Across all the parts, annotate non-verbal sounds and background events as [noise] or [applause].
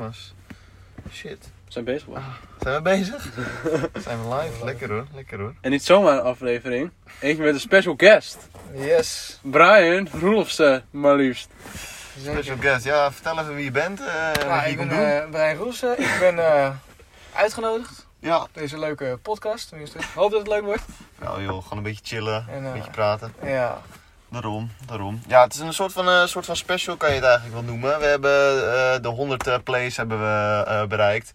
Mas. Shit. We zijn bezig. man. Zijn we [laughs] bezig? Zijn we live? Lekker hoor, lekker hoor. En niet zomaar een aflevering. Eentje met een special guest. Yes. Brian Roelofsen, maar liefst. Special guest. Ja, vertel even wie je bent. eh wat Nou, je ik komt ben doen. eh, Brian Roelsen. Ik ben eh, uitgenodigd. Ja. Deze leuke podcast. Tenminste, ik hoop dat het leuk wordt. Nou joh, gewoon een beetje chillen. En, Een eh, beetje praten. Ja. Daarom, daarom. Ja, het is een soort van, eh, soort van special kan je het eigenlijk wel noemen. We hebben eh, de 100 eh, plays hebben we eh, bereikt.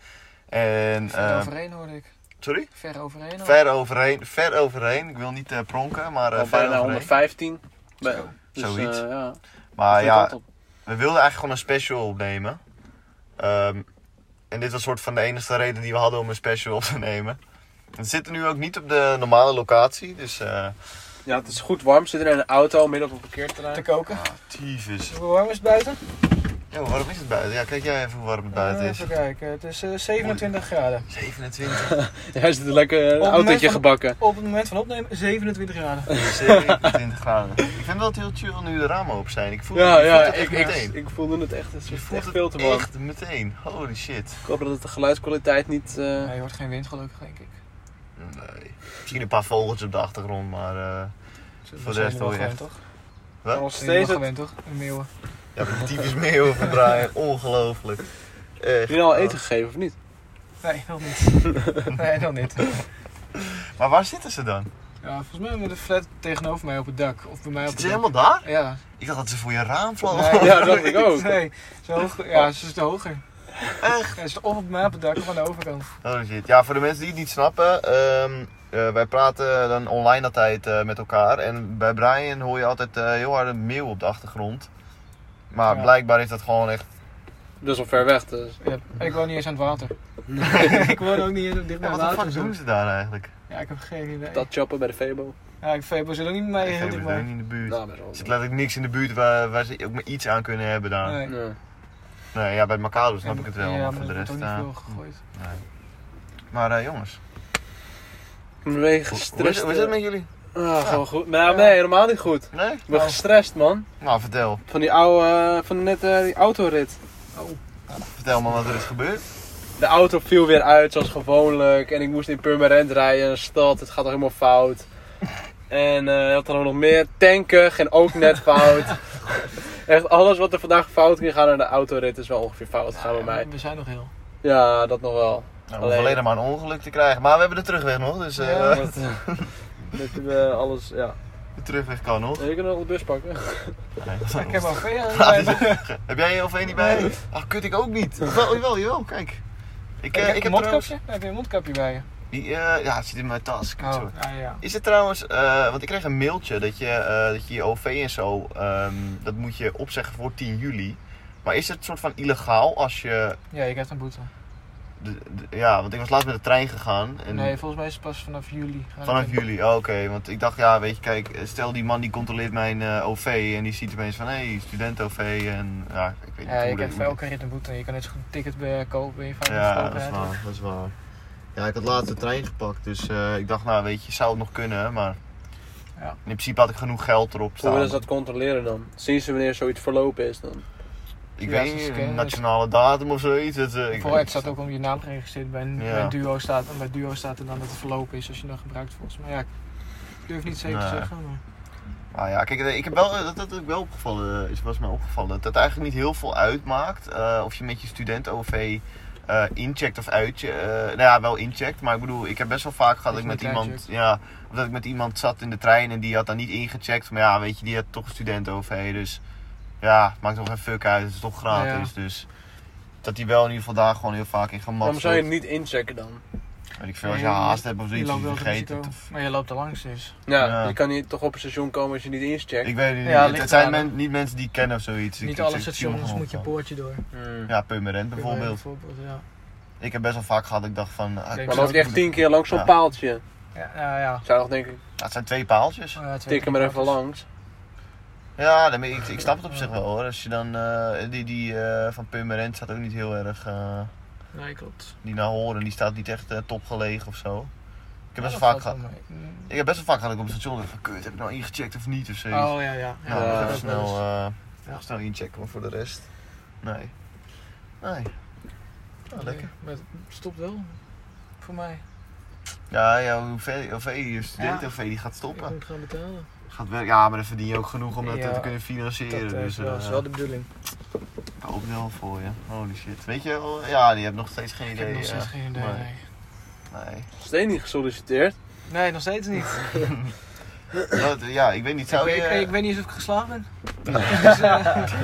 En, Ver eh, overheen hoorde ik. sorry? Ver overheen. hoorde ik. Ver overheen, ver overheen. Ik wil niet eh, pronken, maar eh, Al ver bijna overheen. 115. Bij- Zo. dus, Zoiets. eh, ja. Maar Goeie ja, kant op. We wilden eigenlijk gewoon een special opnemen. Ehm, en dit was soort van de enige reden die we hadden om een special op te nemen. We zitten nu ook niet op de normale locatie, dus... eh ja, het is goed warm. We zitten in een auto midden op een parkeerterrein. [laughs] Te koken. tyfus. Hoe warm is het buiten? Ja, hoe warm is het buiten? Ja, kijk jij even hoe warm het buiten Eh, is. Even kijken. Het is eh, 27 graden. 27, Hij zit lekker eh, een Op het autootje moment van- gebakken. Op het moment van opnemen 27 graden. 27 graden. Ik vind wel het heel chill nu de ramen open zijn. Ik voel, Ja, ik voel ja, het echt ik, ik, meteen. ik voelde het echt. Het Je is voelt echt het veel te warm. echt meteen. Holy shit. Ik hoop dat het de geluidskwaliteit niet... eh, Nee, je hoort geen wind gelukkig denk ik. Nee. Misschien een paar vogeltjes op de achtergrond, maar... eh Voor de rest hoor je echt. toch? wat? Nog Steeds steeds wel het- gewend toch? Een meeuwen. Ja, de tyfus mee overdraaien. Ongelooflijk. Echt. Heb je nou al eten gegeven of niet? Nee, nog niet. [laughs] nee, nog niet. Maar waar zitten ze dan? Ja, volgens mij met een flat tegenover mij op het dak. Of bij mij op Zitten het ze dak. helemaal daar? Ja. Ik dacht dat ze voor je raam vlogen. Nee, Ja, dat dacht [laughs] ik ook. Nee, ze hoog, ja, ze zit hoger. Echt? Ja, ze zit of op het mapendak of aan de overkant. [laughs] Oh shit. Ja, voor de mensen die het niet snappen. ehm, eh, wij praten dan online altijd eh, met elkaar. En bij Brian hoor je altijd eh, heel hard een meeuw op de achtergrond. Maar Ja. blijkbaar is dat gewoon echt... Dus al ver weg. Dus. Ja. En ik woon niet eens aan het water. [laughs] ik woon ook niet eens dicht bij Ja, het wat de water. fuck doen zo. ze daar eigenlijk? Ja, ik heb geen idee. Dat choppen bij de Febo. Ja, ik Febo zit ook niet met mij Ik heel heb dicht het ook bij. niet in de buurt. Nou, best wel. Er zit letterlijk niks in de buurt waar, waar ze ook maar iets aan kunnen hebben daar. Nee, Nee. Ja. ja, bij Macado snap ik het wel. Ja, maar maar voor de er rest... wordt ook eh, niet veel gegooid. maar eh, jongens, We zijn hoe- hoe is, gestrest. hoe is het met jullie? eh, Ah, gewoon goed. Nou, nee, helemaal niet goed. Nee? Ik ben gestrest, man. Nou, vertel. Van die oude, eh, van net eh, die autorit. Vertel me wat er is gebeurd. De auto viel weer uit zoals gewoonlijk. En ik moest in Purmerend rijden, een stad. Het gaat toch helemaal fout. En eh had dan ook nog meer tanken, en ook net fout. [laughs] Echt alles wat er vandaag fout ging gaan aan de autorit is wel ongeveer fout gegaan bij mij. We zijn nog heel. Ja, dat nog Nou, wel. we Alleen- hoeven alleen maar een ongeluk te krijgen. Maar we hebben de terugweg nog, dus eh, Ja. Dat, eh, [laughs] dat eh, alles, ja. de terugweg kan nog. Je kunt nog de bus pakken. Nee, dat is Ik heb nog. al veel [laughs] aan dus [laughs] eh, het rijden. Heb jij je OV niet bij? je? Ah, kut, ik ook niet. Wel, jawel, jawel, kijk. Ik, eh, Heb je ik heb een mondkapje? trouwens... Heb je een mondkapje bij je? Die, eh, ja, het zit in mijn tas. kut, Oh, sorry. ja, ja. Is het trouwens... eh, want ik kreeg een mailtje dat je eh, dat je, je OV en zo... ehm, dat moet je opzeggen voor 10 juli. Maar is het soort van illegaal als je... Ja, je krijgt een boete. de- de- ja, want ik was laatst met de trein gegaan. En Nee, volgens mij is het pas vanaf juli. gaan Vanaf we- juli, oh, oké. Want ik dacht, ja, weet je, kijk, stel die man die controleert mijn eh, OV en die ziet ineens van, hé, hey, student-OV en ja, ik weet niet Ja, hoe je dat- krijgt voor elke rit een boete. Je kan net zo goed een ticket eh, kopen en je vaak Ja, dat is waar, dat is waar. Ja, ik had laatst de trein gepakt, dus eh, ik dacht, nou, weet je, zou het nog kunnen, maar Ja. in principe had ik genoeg geld erop Hoe staan. willen ze dat controleren dan? Zien ze wanneer zoiets verlopen is dan? Ik Ja, weet ze niet, scannen een het. nationale datum of zoiets. Het, eh, ik Voor het staat ook om je naam geregistreerd bij, een- Ja. bij een duo staat. En bij duo staat er dan dat het verlopen is als je dan gebruikt volgens mij. Ja, ik durf niet zeker Nee. te zeggen. Maar... Ah ja, kijk, ik heb wel, dat, dat ook wel opgevallen, eh, is, was mij opgevallen, dat het eigenlijk niet heel veel uitmaakt eh, of je met je student-OV eh, incheckt of uit, nou ja, wel incheckt, maar ik bedoel, ik heb best wel vaak gehad dat Dat ik met je niet iemand, uitcheckt. ja, of dat ik met iemand zat in de trein en die had dan niet ingecheckt, maar ja, weet je, die had toch een student-OV, dus ja, maakt toch geen fuck uit, het is toch gratis, dus dat die wel in ieder geval daar gewoon heel vaak in gemat Waarom zou je zit. het niet inchecken dan? Weet ik veel, als je Nee, haast hebt of Je zoiets, loopt wel of het je vergeten risico. hebt of- Maar je loopt er langs dus. Ja, Ja. je kan niet toch op een station komen als je niet incheckt. Ik weet het niet, Ja, het ligt zijn eraan. men- niet mensen die ik ken of zoiets. Ik- niet ik- alle ik zie hem stations gewoon moet je staan. poortje door. Hmm. Ja, Purmerend bijvoorbeeld. Bijvoorbeeld, ja. Ik heb best wel vaak gehad dat ik dacht van... ah, Denk Maar zo. loopt hij echt tien keer langs zo'n Ja. paaltje. Ja, nou ja. Ik zou nog denken, ja, het zijn twee paaltjes. Oh ja, twee tik hem er even auto's. langs. Ja, nee, maar ik, ik snap het op zich wel hoor. Als je dan... eh, die die eh, van Purmerend staat ook niet heel erg... eh, Nee, klopt. die naar horen, die staat niet echt eh, topgelegen of zo. Ik heb Ja, best dat wel vaak valt gehad... wel mee. Ik heb best wel vaak gehad dat ik op het station dacht van... Kut, heb ik nou ingecheckt of niet of zoiets? Oh ja, ja. nou, Ja, ik dat heb is snel, wel eens. eh, Ja. snel inchecken, maar voor de rest... Nee. Nee. Ja, Nou, eh, lekker. Maar het stopt wel. Voor mij. Ja, ja OV, OV, je studenten-OV die gaat Ik stoppen. moet gaan betalen. Gaat werken. Ja, maar dan verdien je ook genoeg om dat eh, Ja, te kunnen financieren. Dat eh, dus is wel- is eh, wel de bedoeling. ik hoop wel voor je. Holy shit. Weet je wel, ja, die hebt nog steeds geen Ik idee. heb nog eh, steeds geen idee. maar- Nee. Nee. Steeds niet gesolliciteerd. nee, nog steeds niet. Dat- ja, ik weet niet. Zou ik, je... ik, ik weet niet eens of ik geslaagd ben.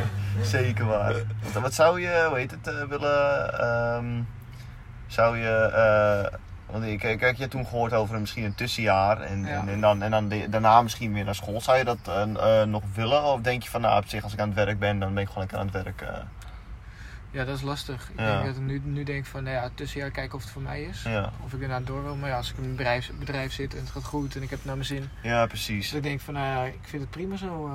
[laughs] Zeker waar. Want Wat zou je, hoe heet het, eh, willen? ehm, zou je. eh, want ik, kijk, je hebt toen gehoord over een- misschien een tussenjaar en, Ja. en, en dan, en dan de- daarna misschien weer naar school. Zou je dat eh, eh, nog willen? Of denk je van, nou, op zich, als ik aan het werk ben, dan ben ik gewoon lekker aan het werk? eh, Ja, dat is lastig. Ik Ja. denk dat ik nu, nu denk van, nou ja, tussenjaar kijken of het voor mij is. ja. Of ik daarna door wil. Maar ja, als ik in een bedrijf, bedrijf zit en het gaat goed en ik heb het naar mijn zin. ja, Dus precies. ik denk van, nou ja, ik vind het prima zo. eh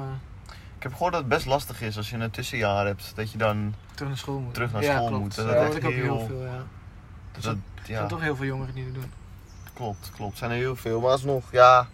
Ik heb gehoord dat het best lastig is als je een tussenjaar hebt, dat je dan. terug naar school moet. Terug naar ja, school klopt. moet. Dat Dat is ja, echt dat ik ook heel heel- veel, ja. Er Dat, zijn- ja, zijn toch heel veel jongeren die dat doen. klopt, klopt. Zijn er heel veel, maar alsnog, ja.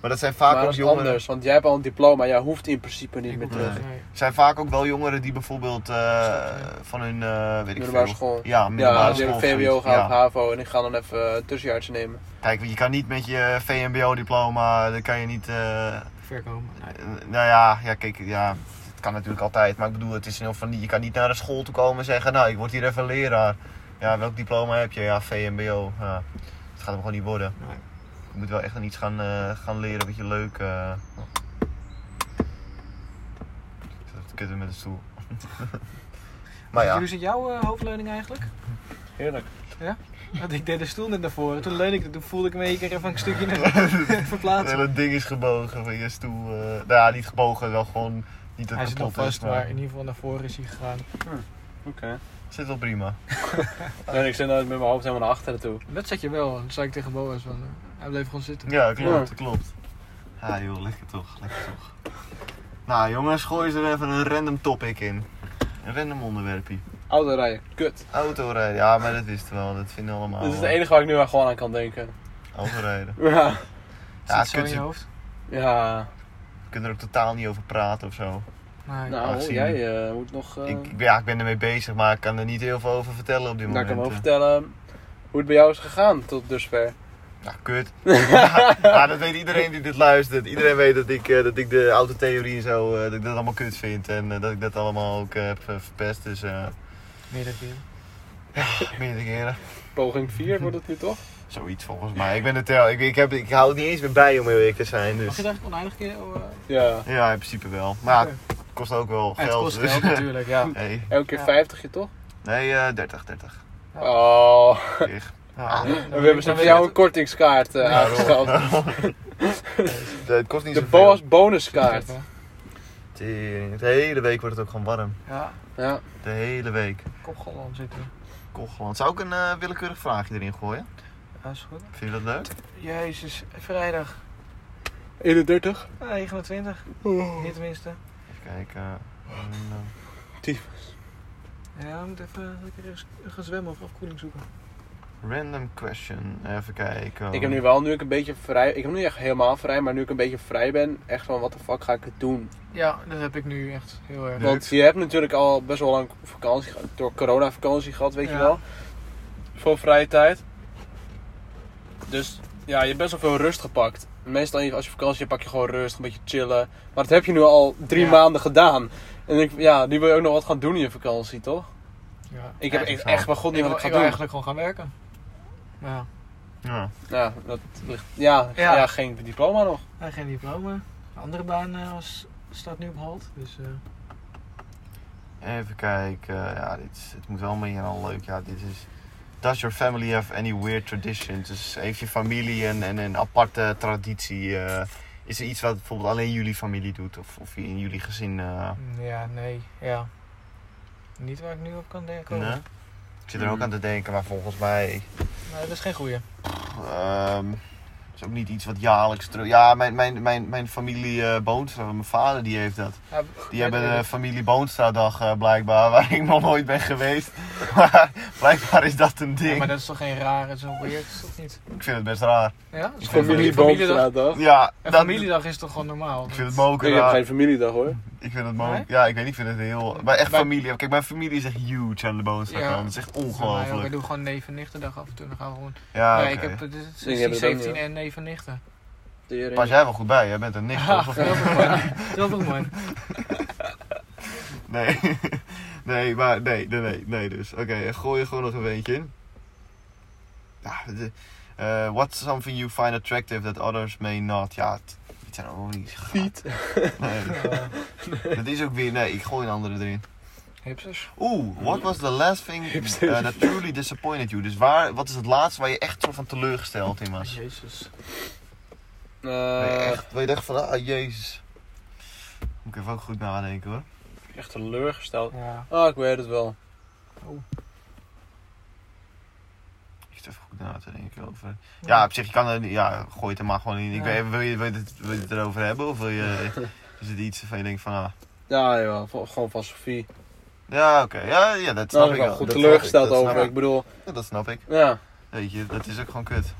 Maar dat zijn vaak maar ook dat is jongeren. eh, anders, want jij hebt al een diploma. Jij hoeft in principe niet Ik meer moet terug. Nee. terug. nee. Er zijn vaak ook wel jongeren die bijvoorbeeld eh, Snap van hun, eh weet ik Middelbare veel. school. Ja, Ja, middelbare die school. hebben of VWO zoiets. gaan Ja. of HAVO en ik ga dan even een tussenjaartje nemen. Kijk, je kan niet met je VMBO-diploma, dan kan je niet, eh, eh, Verkomen. Nee. nou ja, ja, kijk, ja, het kan natuurlijk altijd. Maar ik bedoel, het is heel van, je kan niet naar de school toe komen en zeggen, nou, ik word hier even leraar. Ja, welk diploma heb je? Ja, VMBO. Ja, dat gaat hem gewoon niet worden. Nee. Je moet wel echt aan iets gaan, eh, gaan leren wat je leuk... eh oh. Ik zat te kutten met de stoel. [laughs] maar ja. Hoe zit jouw eh, hoofdleuning [laughs] eigenlijk? Heerlijk. Want ik deed de stoel net naar voren. Toen leunde ik er, toen voelde ik me een keer even een [laughs] stukje naar Het verplaatsen. hele ding is gebogen van je stoel. eh, nou ja, niet gebogen, wel gewoon niet dat Hij het zit nog kapot is. vast, Maar... maar in ieder geval naar voren is hij gegaan. Oké. Zit wel prima. En ik zit nou met mijn hoofd helemaal naar achteren toe. Dat zat je wel, dat zei ik tegen Boas. Van, eh, hij bleef gewoon zitten. Ja, klopt, klopt. Ja joh, lekker toch, lekker toch. Nou jongens, gooi eens er even een random topic in. Een random onderwerpje. Auto rijden, kut. Autorijden, ja maar dat wist wel, dat vinden we allemaal. Dit is het wel. enige waar ik nu aan gewoon aan kan denken. Autorijden. Ja. Ja, Ja, zit zo in kut. je hoofd. Ja. We kunnen er ook totaal niet over praten of zo. Nee. Nou, Aangezien- jij eh, moet nog... eh, Ik, ik ben- ja, ik ben ermee bezig, maar ik kan er niet heel veel over vertellen op dit nou, moment. ik kan wel eh. vertellen hoe het bij jou is gegaan tot dusver. Ja, Nou, [laughs] kut. [laughs] ja, ja, dat weet iedereen die dit luistert. Iedereen weet dat ik, eh, dat ik de autotheorie en zo, eh, dat ik dat allemaal kut vind. En eh, dat ik dat allemaal ook eh, heb eh, verpest. Dus eh Meerdere keren. meerdere keren. Poging 4 wordt het nu [laughs] toch? Zoiets volgens mij. Ik ben het wel. Ik, ik, heb, ik hou het niet eens meer bij om heel eerlijk te zijn. Mag Dus. je het eigenlijk oneindig keer? Oh, eh, Ja. Ja, in principe wel. Maar oké. het kost ook wel Ja, het geld. kost dus. [laughs] [laughs] geld natuurlijk, ja. Nee, Elke keer Ja. 50 je toch? nee eh, 30, 30. Ja. Oh. Echt. Ja, Ja. dan We hebben ze dan voor jou weet een kortingskaart eh, [laughs] daarom. aangeschaft. [laughs] Het kost niet De zoveel. Boas ik het bonuskaart. wel. Tering, De hele week wordt het ook gewoon warm. Ja, Ja. De hele week. kopgolland zitten. Kochland. Zou ik een eh, willekeurig vraagje erin gooien? Ja, is goed. Vind je dat leuk? Jezus, vrijdag 31. eh, 29. Oh. Hier tenminste. Even kijken. En, eh, Ja, we moeten even lekker eens gaan zwemmen of afkoeling zoeken. random question. Even kijken. Ik heb nu wel, nu ik een beetje vrij... Ik heb nu niet echt helemaal vrij, maar nu ik een beetje vrij ben... Echt van, wat de fuck ga ik het doen? Ja, dat heb ik nu echt heel erg. Leuk. Want je hebt natuurlijk al best wel lang vakantie gehad, door corona vakantie gehad, weet je Ja. wel. Voor vrije tijd. Dus ja, je hebt best wel veel rust gepakt. Meestal als je vakantie hebt, pak je gewoon rust, een beetje chillen. Maar dat heb je nu al drie Ja. maanden gedaan. En ik, ja, nu wil je ook nog wat gaan doen in je vakantie, toch? Ja. Ik heb echt, Eigenlijk echt wel. bij god niet wil- wat ik ga wil doen. eigenlijk gewoon gaan werken. Maar ja, Ja. Ja, dat ligt, ja, ja. Ja. geen diploma nog. hij geen diploma. Een andere baan eh, was, staat nu op halt. Dus eh, Even kijken. Ja, dit is, het moet wel meer dan leuk. Ja, dit is. Does your family have any weird traditions? Dus heeft je familie een, een, een aparte traditie? eh, is er iets wat bijvoorbeeld alleen jullie familie doet? Of, of in jullie gezin? eh, ja, nee, ja. Niet waar ik nu op kan denken. nee? Nee, Ik zit er ook aan te denken, maar volgens mij. dat is geen goeie. Ehm, is ook niet iets wat jaarlijks terug. Ja, mijn, mijn, mijn, mijn familie eh Boonstra, mijn vader die heeft dat. Ja, Die hebben eh, weet de ik. familie Boonstradag eh, blijkbaar, [laughs] waar ik nog nooit ben geweest. [laughs] Maar blijkbaar is dat een Ja, ding. maar dat is toch geen rare zo'n project, is dat niet? Ik vind het best raar. Ja? Dus Familie familiedag- Boomstraat, toch? Ja, Een dat- familiedag is toch gewoon normaal? ik vind het moken Ik heb raar. geen familiedag hoor. Ik vind het Nee? mooi. Ja, ik weet niet, ik vind het heel... Maar echt Bij- familie. Kijk, mijn familie is echt huge aan de bovenste Ja. kant. Het is echt Bij mij ook. ongelooflijk. Ik doe gewoon neef en nichtendag af en toe. Dan gaan we gewoon... Ja, nee, ik oké. heb eh, dus Ik heb 16, het ook 17 niet, en neef en nichten. Pas jij wel goed bij, jij bent een nicht. Ja, [laughs] toch? Of- grappig man. Grappig man. Nee. [laughs] nee, maar nee, nee, nee, nee dus. Oké, en gooi er gewoon nog een eentje in. Ja, de- eh, what's something you find attractive that others may not? Ja, het, het zijn ook niet gaaf. Fiet. Nee, Ja. [laughs] dat is ook weer... Nee, ik gooi een andere erin. Hipsters. Oeh, what was the last thing Hipster. eh, that truly disappointed you? Dus waar, wat is het laatste waar je echt soort van teleurgesteld in was? Jezus. Waar je Eh, echt, waar je dacht van, ah, jezus. Moet ik even ook goed nadenken hoor. echt teleurgesteld. Ja. Ah, ik weet het wel. Ik zit even goed na te denken over. Ja, op zich, je kan er niet- Ja, gooi het er maar gewoon in. Ik Ja. weet, wil, je, wil, je het, wil je het erover hebben? Of wil je. Is het iets waarvan je denkt van. Ah, Ja, jawel. Vo- Gewoon van Sofie. ja, oké. Ja, ja, dat Daar snap ben ik ik wel wel. goed Dat teleurgesteld snap ik, dat over. snap Ik bedoel, ik. Ja, dat snap ik. ja. Weet je, dat is ook gewoon kut.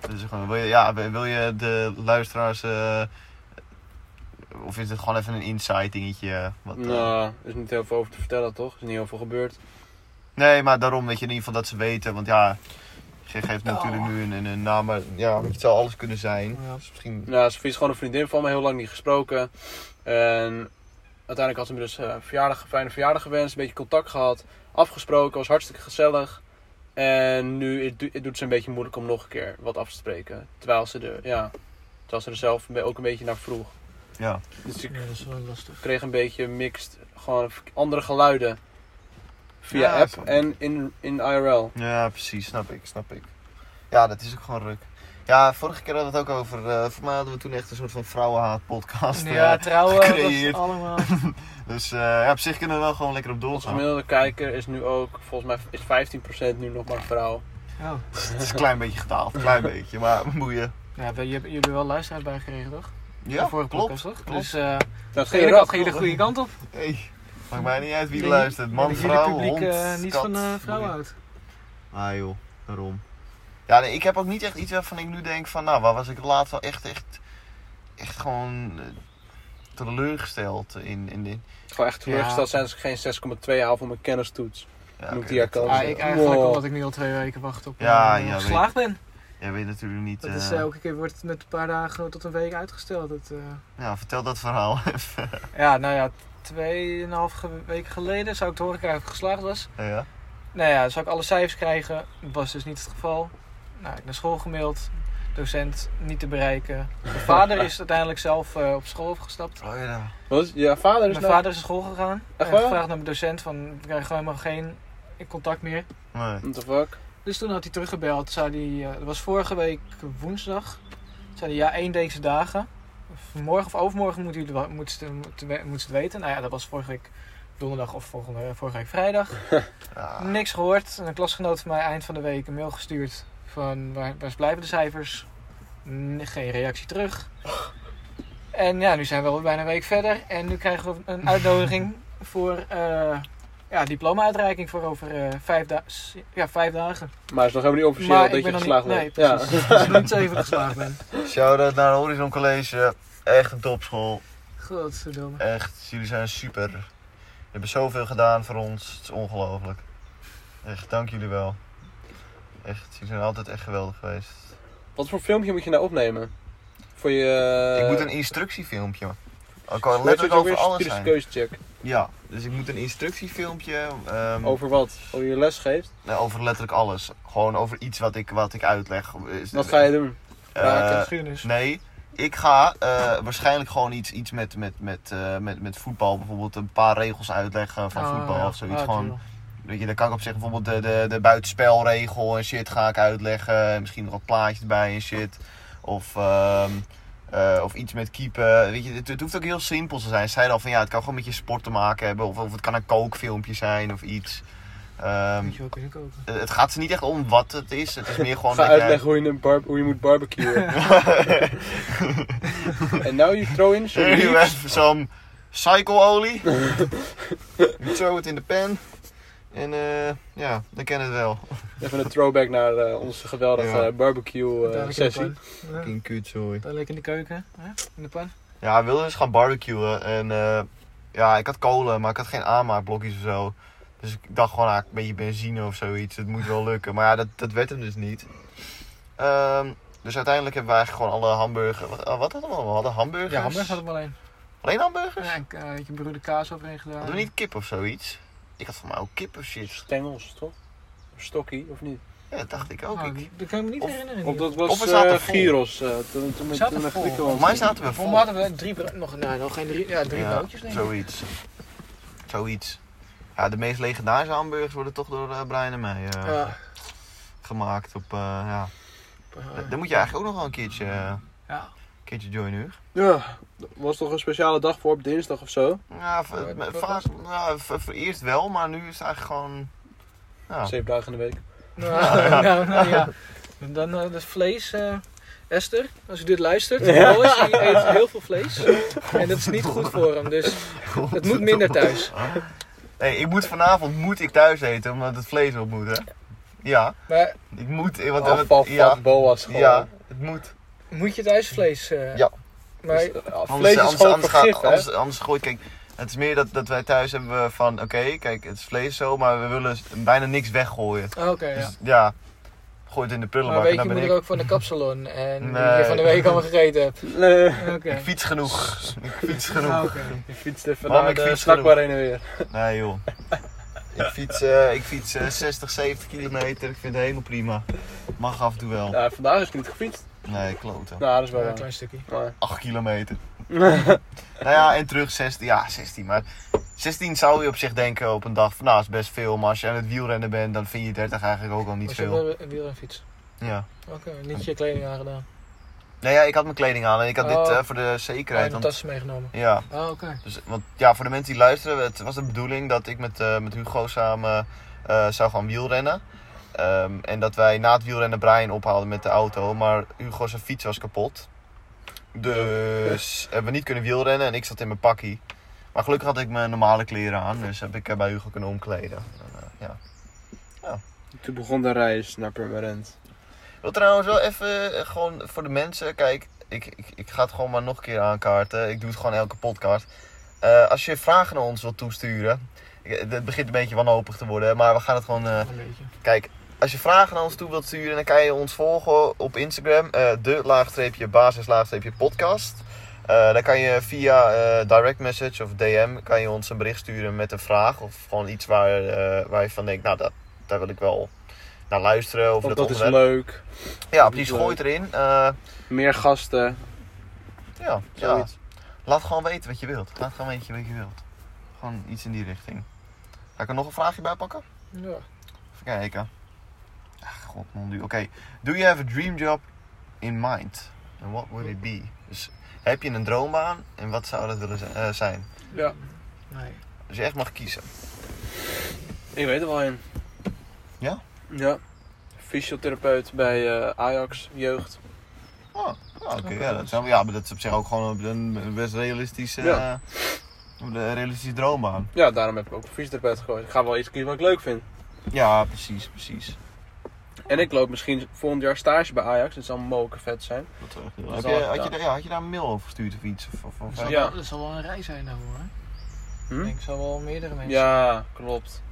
Dat is gewoon, wil, je, ja, wil je de luisteraars. eh, of is het gewoon even een inside dingetje? eh, Wat, eh, Nou, er is niet heel veel over te vertellen, toch? Er is niet heel veel gebeurd. Nee, maar daarom weet je in ieder geval dat ze weten. Want ja, je geeft natuurlijk nu een, een, een naam. Maar ja, het zou alles kunnen zijn. Ja. Dus misschien. Nou, Sofie is gewoon een vriendin van me, heel lang niet gesproken. En uiteindelijk had ze me dus eh, verjaardag, fijne verjaardag gewenst, een beetje contact gehad, afgesproken, was hartstikke gezellig. En nu het, do- het doet ze een beetje moeilijk om nog een keer wat af te spreken. Terwijl ze er, ja, terwijl ze er zelf een be- ook een beetje naar vroeg. Ja. Dus ik Ja, dat is wel lastig. kreeg een beetje mixed, gewoon v- andere geluiden. Via Ja, app zo. en in, in IRL. Ja, precies, snap ik, snap ik. Ja, dat is ook gewoon ruk. Ja, vorige keer hadden we het ook over. eh, voor mij hadden we toen echt een soort van vrouwenhaat-podcast. Ja, eh. [laughs] trouwen, dat is gecreëerd. allemaal. dus eh, ja, op zich kunnen we wel gewoon lekker op Onze doorgaan. gemiddelde kijker is nu ook, volgens mij is 15% nu nog maar vrouw. Oh. Het is een klein beetje gedaald, een klein [laughs] beetje, maar boeien. Ja, we- je, hebt- jullie hebben wel luisteraars bijgekregen, toch? Ja, De vorige podcast, klopt. toch? klopt. Dus eh Dat geen dat ging de goede kant op. Hey, maakt mij niet uit wie Ik denk luistert. Man, dat jullie vrouw, publiek, hond, eh, niet kat, van eh, vrouwen boeien. houdt. Ah joh, daarom. Ja, nee, ik heb ook niet echt iets waarvan ik nu denk van, nou, waar was ik laatst wel echt, echt, echt gewoon eh, teleurgesteld in. in, in. Gewoon echt teleurgesteld zijn als ik geen 6,2 haal voor mijn kennistoets. Ja, Moet oké, die dat- herkomen. Ah, ik eigenlijk Wow. omdat ik nu al twee weken wacht op Ja, eh, ja, geslaagd ben. Jij weet natuurlijk niet. Dat is, eh, eh, elke keer wordt het met een paar dagen tot een week uitgesteld. Dat, eh, Ja, vertel dat verhaal [laughs] even. ja, nou ja, tweeënhalf ge- weken geleden zou ik te horen krijgen of ik geslaagd was. ja. Nou ja, zou ik alle cijfers krijgen? Dat was dus niet het geval. Nou, ik naar school gemaild. Docent niet te bereiken. Mijn vader is uiteindelijk zelf eh, op school opgestapt. Oh ja. Wat? Ja, vader is Mijn nou- vader is naar school gegaan. Echt En waar? gevraagd naar mijn docent van, we krijgen gewoon helemaal geen contact meer. Nee. What the fuck? Dus toen had hij teruggebeld. Zei hij, eh, dat was vorige week woensdag. Zei hij, ja, één deze dagen. Morgen of overmorgen moet, jullie, wel- moet, ze, moet, moet ze het weten. Nou ja, dat was vorige week donderdag of volgende, vorige week vrijdag. Ja. Niks gehoord. En Een klasgenoot van mij eind van de week een mail gestuurd van waar, waar blijven de cijfers? N- Geen reactie terug. En ja, nu zijn we al bijna een week verder en nu krijgen we een uitnodiging voor eh, ja, diploma-uitreiking voor over eh, vijf, da- s- ja, vijf dagen. Maar het is nog helemaal niet officieel dat je nog geslaagd niet, nee, wordt. precies. Dus het is nog niet zo even geslaagd ben. Shout-out naar Horizon College. eh, Echt een topschool. Godverdomme. Echt, jullie zijn super. Jullie hebben zoveel gedaan voor ons. Het is ongelooflijk. Echt, dank jullie wel. Echt, jullie zijn altijd echt geweldig geweest. Wat voor filmpje moet je nou opnemen? Voor je... ik moet een instructiefilmpje. Ik Hoe kan heet Eh, dat letterlijk ook weer? over alles Kritische zijn. keuzecheck. Ja, dus ik moet een instructiefilmpje. ehm, Over wat? Over je les geeft? nee, over letterlijk alles. Gewoon over iets wat ik, wat ik uitleg. Is- Wat ga je doen? Eh, Gunners. Nee, ik ga eh, waarschijnlijk gewoon iets, iets met, met, met, eh, met, met voetbal. Bijvoorbeeld een paar regels uitleggen van Ah, voetbal ja. of zoiets. Ah, gewoon, chill. weet je, dan kan ik op zich bijvoorbeeld de, de, de buitenspelregel en shit ga ik uitleggen. En Misschien nog wat plaatjes bij en shit. Of, ehm, eh, of iets met keeper. Weet je, het, het hoeft ook heel simpel te zijn. Ze zeiden al van ja, het kan gewoon met je sport te maken hebben. Of, of het kan een kookfilmpje zijn of iets. Ehm, Moet je wel kunnen koken. het gaat ze niet echt om wat het is. Het is meer gewoon. Ga dat jij- [laughs] uitleggen hoe je, een bar- hoe je moet barbecuen. En now you throw in [laughs] some Here you leaves. have some [laughs] cycleolie. you throw it in the pan. En eh, ja, dan kennen we het wel. Even een throwback naar eh, onze geweldige Ja. barbecue eh, Dadelijk in de sessie. pan. Ja. Fucking kut, sorry. Dadelijk in de keuken. hè? In de pan. Ja, we wilden dus gaan barbecuen. En eh, ja, ik had kolen, maar ik had geen aanmaakblokjes of zo. Dus ik dacht gewoon, ah, een beetje benzine of zoiets. Het moet wel lukken. Maar ja, dat, dat werd hem dus niet. Ehm, dus uiteindelijk hebben we eigenlijk gewoon alle hamburgers... Wat, eh, wat hadden we allemaal? We hadden hamburgers? Ja, hamburgers had ik wel alleen. Alleen hamburgers? Ja, ik eh, had je broeder kaas overheen gedaan. Hadden we niet kip of zoiets? Ik had voor mij ook kip of shit. Stengels, toch? Of Stokkie, of niet? Ja, dat dacht ik ook. Oh, Ik- die- dat kan ik me niet Of- herinneren. Of dat Of was we zaten eh, vol. Gyros, eh, toen, toen, We met zaten toen naar vol. Voor Griekenland. mij zaten we Voor vol. mij hadden we drie, bro- nog, nou, nog geen drie, ja, drie Ja, broodjes denk ik. zoiets. Zoiets. Ja, de meest legendarische hamburgers worden toch door eh, Brian en mij eh, Ja, gemaakt. Op, eh, ja. eh, Dan moet je eigenlijk ook nog wel een keertje, eh, ja. een keertje joinen, Huug. Ja, er was toch een speciale dag voor op dinsdag of zo? Ja, v- Ja, m- dat was- vaak, ja, v- voor eerst wel, maar nu is het eigenlijk gewoon... Ja. Zeven dagen in de week. Nou, [laughs] nou, nou, ja. Dan eh dat vlees. eh, Esther, als u dit luistert, Ja. Boris, die eet heel veel vlees. En dat is niet goed voor hem, dus [laughs] het moet minder thuis. Nee, ik moet vanavond moet ik thuis eten, omdat het vlees op moet, hè? Ja, Maar ik moet... eh, Want, Afval want- van ja, boa's gewoon. ja, het moet. moet je thuis vlees? eh, Ja. Maar, Dus, eh, vlees is gewoon anders, vergif, gaat- hè? anders, anders gooit... Kijk, het is meer dat, dat wij thuis hebben van... Oké, kijk, het is vlees zo, maar we willen s- bijna niks weggooien. Ah, oké, ja. Dus ja, gooi het in de Maar prullenbak en weet je, dan ben moeder ik... ook van de kapsalon en die Nee. je van de week allemaal gegeten hebt. [laughs] Nee, Nou, Oké. [laughs] Ik fiets [laughs] genoeg. Ik fiets genoeg. Ah, oké. je fietst even Mam, naar ik de fiets snackbar heen en weer. Nee joh. [laughs] Ik fiets, eh, ik fiets eh, 60, 70 kilometer. Ik vind het helemaal prima. Mag af en toe wel. Ja, vandaag is het niet gefietst. Nee, kloten. Nou, dat is wel Maar een waar. klein stukje. Maar- 8 [laughs] kilometer. Nou ja, en terug 16. Ja, 16. Maar 16 zou je op zich denken op een dag van nou is best veel. Maar als je aan het wielrennen bent, dan vind je 30 eigenlijk ook al niet Was veel. je een wiel en fiets? Ja. Oké, niet je kleding aangedaan. Nou ja, ik had mijn kleding aan en ik had dit Oh. eh, voor de Krijg zekerheid. je want- tassen meegenomen? ja. Ah, oké. Dus, want ja, voor de mensen die luisteren, het was de bedoeling dat ik met, eh, met Hugo samen eh, zou gaan wielrennen. Ehm, en dat wij na het wielrennen Brian ophaalden met de auto, maar Hugo zijn fiets was kapot. Dus hebben we niet kunnen wielrennen en ik zat in mijn pakkie. Maar gelukkig had ik mijn normale kleren aan, dus heb ik eh, bij Hugo kunnen omkleden. En, eh, ja. Toen begon de reis naar Purmerend. Ik wil trouwens wel even, eh, gewoon voor de mensen, kijk, ik, ik, ik ga het gewoon maar nog een keer aankaarten. Ik doe het gewoon elke podcast. Eh, als je vragen naar ons wilt toesturen, ik- eh, het het begint een beetje wanhopig te worden, maar we gaan het gewoon... eh, Een beetje. kijk, als je vragen naar ons toe wilt sturen, dan kan je ons volgen op Instagram, eh, de laagstreepje basis laagstreepje podcast. Eh dan kan je via eh, direct message of DM kan je ons een bericht sturen met een vraag of gewoon iets waar, eh, waar je van denkt, nou dat, daar wil ik wel naar luisteren. Of Want dat is onderwerp. leuk. Ja, Dat precies. is Gooi het erin. Eh, Meer gasten. ja, ja, Zoiets. laat gewoon weten wat je wilt. Laat gewoon weten wat je wilt. Gewoon iets in die richting. Ga ik er nog een vraagje bij pakken? Ja. Even kijken. Ach, god, man. Oké. Do you have a dream job in mind? And what would it be? Dus heb je een droombaan en wat zou dat willen zi- eh, zijn? Ja. Nee. Dus je echt mag kiezen. Ik weet er wel een. Ja? Ja. Fysiotherapeut bij eh, Ajax, jeugd. Oh, oh, oké. ja, dat zou- ja, maar dat is op zich ook gewoon een, een best realistische, Ja. eh, een realistische droombaan. Ja, daarom heb ik ook een fysiotherapeut gegooid. Ik ga wel iets kiezen wat ik leuk vind. Ja, precies, precies. En ik loop misschien volgend jaar stage bij Ajax. Dat zal mogen vet zijn. Dat zou echt heel- Dat heb zal je, echt had, je, gedaan. daar- ja, had je daar een mail over gestuurd of iets? Of, of, of- Dat zal, Ja. wel, dat zal wel een rij zijn nou hoor. Hm? Ik denk zal wel meerdere mensen. Ja, klopt.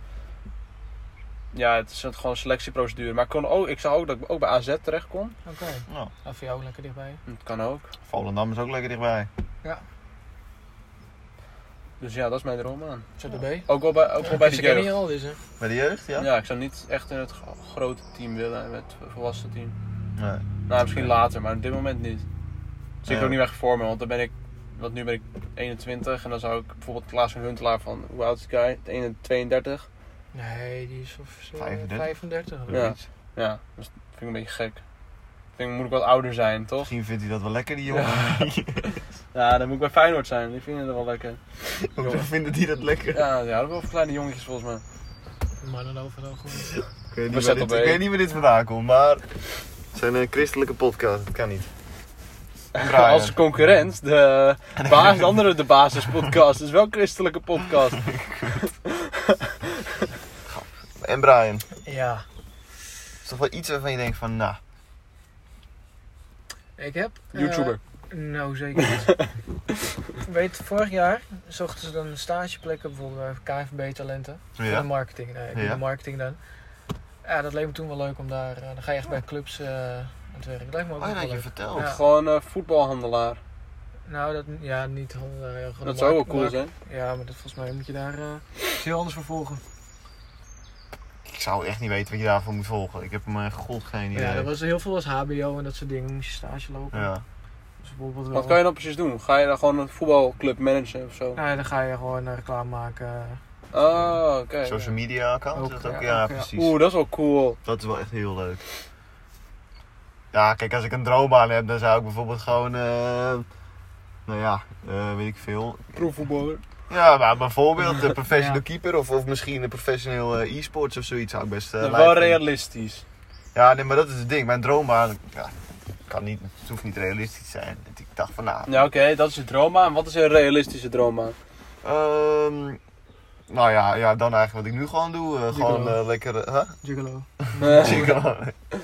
Ja, het is een- gewoon een selectieprocedure. Maar ik, kon ook, ik zag ook dat ik ook bij AZ terecht kon. Oké. Nou, Nou, voor jou ook lekker dichtbij. Dat kan ook. Volendam is ook lekker dichtbij. Dus ja, dat is mijn droom aan. ZDB. Ook wel bij, ook wel bij de Ze kennen je jeugd. al, dus hè? Bij de jeugd, ja? Ja, ik zou niet echt in het gro- grote team willen, met het volwassen team. Nee. Nou, misschien later, maar op dit moment niet. Dus ik Ja. ook niet weg voor me, want dan ben ik, want nu ben ik 21 en dan zou ik bijvoorbeeld Klaas van Huntelaar van, hoe oud is die guy? 1 32. Nee, die is of eh, zo 35. 35. of zo. Ja. Ja, dus dat vind ik een beetje gek. Ik denk, moet ik wat ouder zijn, toch? Misschien vindt hij dat wel lekker, die jongen. [laughs] Ja, dan moet ik bij Feyenoord zijn. Die vinden het wel lekker. Hoe vinden die dat lekker? Ja, die houden wel van kleine jongetjes volgens mij. Maar dan overal goed. Ik, weet We niet waar zetten dit, op ik één. weet niet waar dit vandaan komt, maar... Het zijn een christelijke podcast, dat kan niet. En Brian. Als concurrent, de, baas, de andere de basispodcast. is wel een christelijke [laughs] podcast. En Brian. Ja. is toch wel iets waarvan je denkt van, nou... Ik heb... eh, YouTuber. Nou, zeker [laughs] niet. Weet, vorig jaar zochten ze dan stageplekken, bijvoorbeeld eh, bij KFB-talenten. Voor de Ja. marketing. Nee, ik doe Ja. de marketing dan. Ja, dat leek me toen wel leuk om daar... eh, dan ga je echt bij clubs eh, aan het werk. Dat lijkt me ook Oh ja, wel dat je leuk. vertelt. Ja. Gewoon eh, voetbalhandelaar. Nou, dat, ja, niet honderd euro. Dat zou ook wel cool zijn. Ja, maar dat, volgens mij moet je daar eh, iets heel anders voor volgen. Ik zou echt niet weten wat je daarvoor moet volgen. Ik heb mijn god geen idee. Ja, dat was heel veel was HBO en dat soort dingen. Moest je stage lopen. Ja. Dus bijvoorbeeld wel- Wat kan je dan precies doen? Ga je dan gewoon een voetbalclub managen of zo? Nou ja, dan ga je gewoon eh, reclame maken. Oh, oké. Social media account, Ook, dat ook? ja, Ja, ook, ja. precies. Oeh, dat is wel cool. Dat is wel echt heel leuk. Ja, kijk, als ik een droombaan heb, dan zou ik bijvoorbeeld gewoon, eh, nou ja, eh, weet ik veel. Proefvoetballer. Ja, maar bijvoorbeeld [laughs] een professional keeper of, of misschien een professioneel eh, e-sports of zoiets zou ik best eh, Dat is lijf wel vinden. realistisch. Ja, nee, maar dat is het ding. Mijn droombaan, ja, kan niet, het hoeft niet realistisch te zijn. Ik dacht van, nou, Ja, oké, dat is je droombaan. Wat is een realistische [laughs] droombaan? ehm, nou ja, ja, dan eigenlijk wat ik nu gewoon doe. eh, gewoon Gigolo. eh, lekker, eh, [laughs] huh? Juggalo. Eh, Gigolo. [laughs]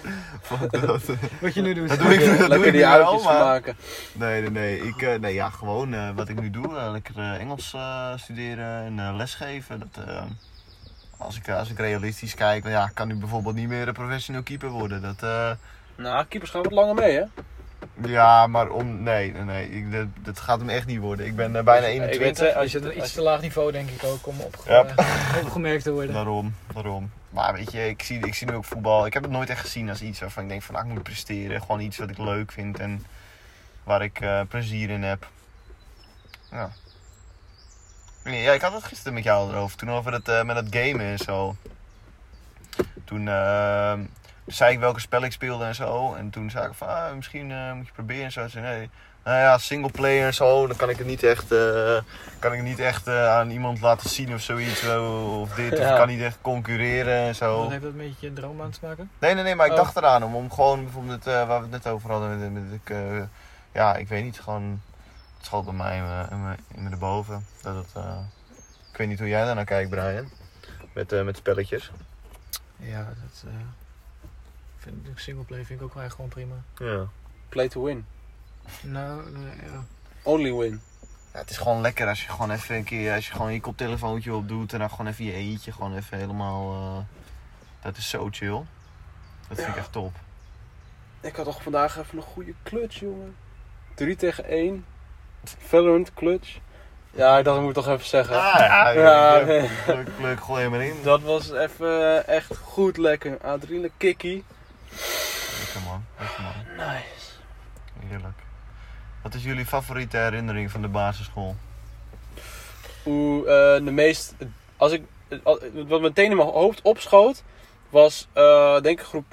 Fuck dat. Wat je nu doet. Dat doe ik- dat doe Lekker ik die nu wel, uitjes maar- maken. Nee, nee, nee. Ik, eh, nee ja, gewoon eh, wat ik nu doe. eh, lekker eh, Engels eh, studeren en eh, lesgeven. Dat, eh, als, ik, als ik realistisch kijk, dan ja, ik kan nu bijvoorbeeld niet meer een professioneel keeper worden. Dat, eh, Nou, keepers gaan wat langer mee, hè? ja, maar om... Nee, nee, nee. Ik, dat, dat gaat hem echt niet worden. Ik ben eh, bijna Ik 21. weet, eh, Je als je zit op het een iets te laag niveau, denk ik ook, om opge- Yep. eh, [laughs] opgemerkt te worden. Daarom, daarom. Maar weet je, ik zie, ik zie nu ook voetbal. Ik heb het nooit echt gezien als iets waarvan ik denk van nou, ik moet presteren. Gewoon iets wat ik leuk vind en waar ik eh, plezier in heb. Ja. Ik weet niet, Ja, ik had het gisteren met jou erover. Toen over het, eh, met dat gamen en zo. Toen eh, zei ik welke spel ik speelde en zo. En toen zei ik van ah, misschien eh, moet je proberen en zo. Toen zei nee. Nou ja, single player en zo, dan kan ik het niet echt, eh, kan ik niet echt eh, aan iemand laten zien of zoiets. eh, Of dit, of Ja. ik kan niet echt concurreren en zo. Wat heeft dat met je droom aan te maken? Nee, nee, nee, maar ik Oh. dacht eraan om, om gewoon bijvoorbeeld, eh, waar we het net over hadden, met, met, ik, eh, ja, ik weet niet, gewoon, het schoot bij mij in me, in me, in me erboven. Dat het, eh, ik weet niet hoe jij daarnaar kijkt, Brian, met, eh, met spelletjes. Ja, dat... eh vind ik singleplay vind ik ook wel echt gewoon prima. Ja. Play to win. Nou, eh, ja. Only win. het is gewoon lekker als je gewoon even een keer, als je gewoon je koptelefoontje opdoet en dan gewoon even je eentje, gewoon even helemaal, eh, dat is zo chill. Dat vind ik echt top. Ik had toch vandaag even een goede clutch, jongen. 3 tegen 1. Valorant clutch. Ja, dat moet ik toch even zeggen. Ah, ja, Ja, leuk, leuk, leuk, gooi hem erin. [laughs] Dat was even eh, echt goed lekker. Adrenaline kikkie. Lekker man, lekker man. Nice. Heerlijk. Wat is jullie favoriete herinnering van de basisschool? Hoe eh, de meest. Als ik, al- wat meteen in mijn hoofd opschoot, was eh, denk ik groep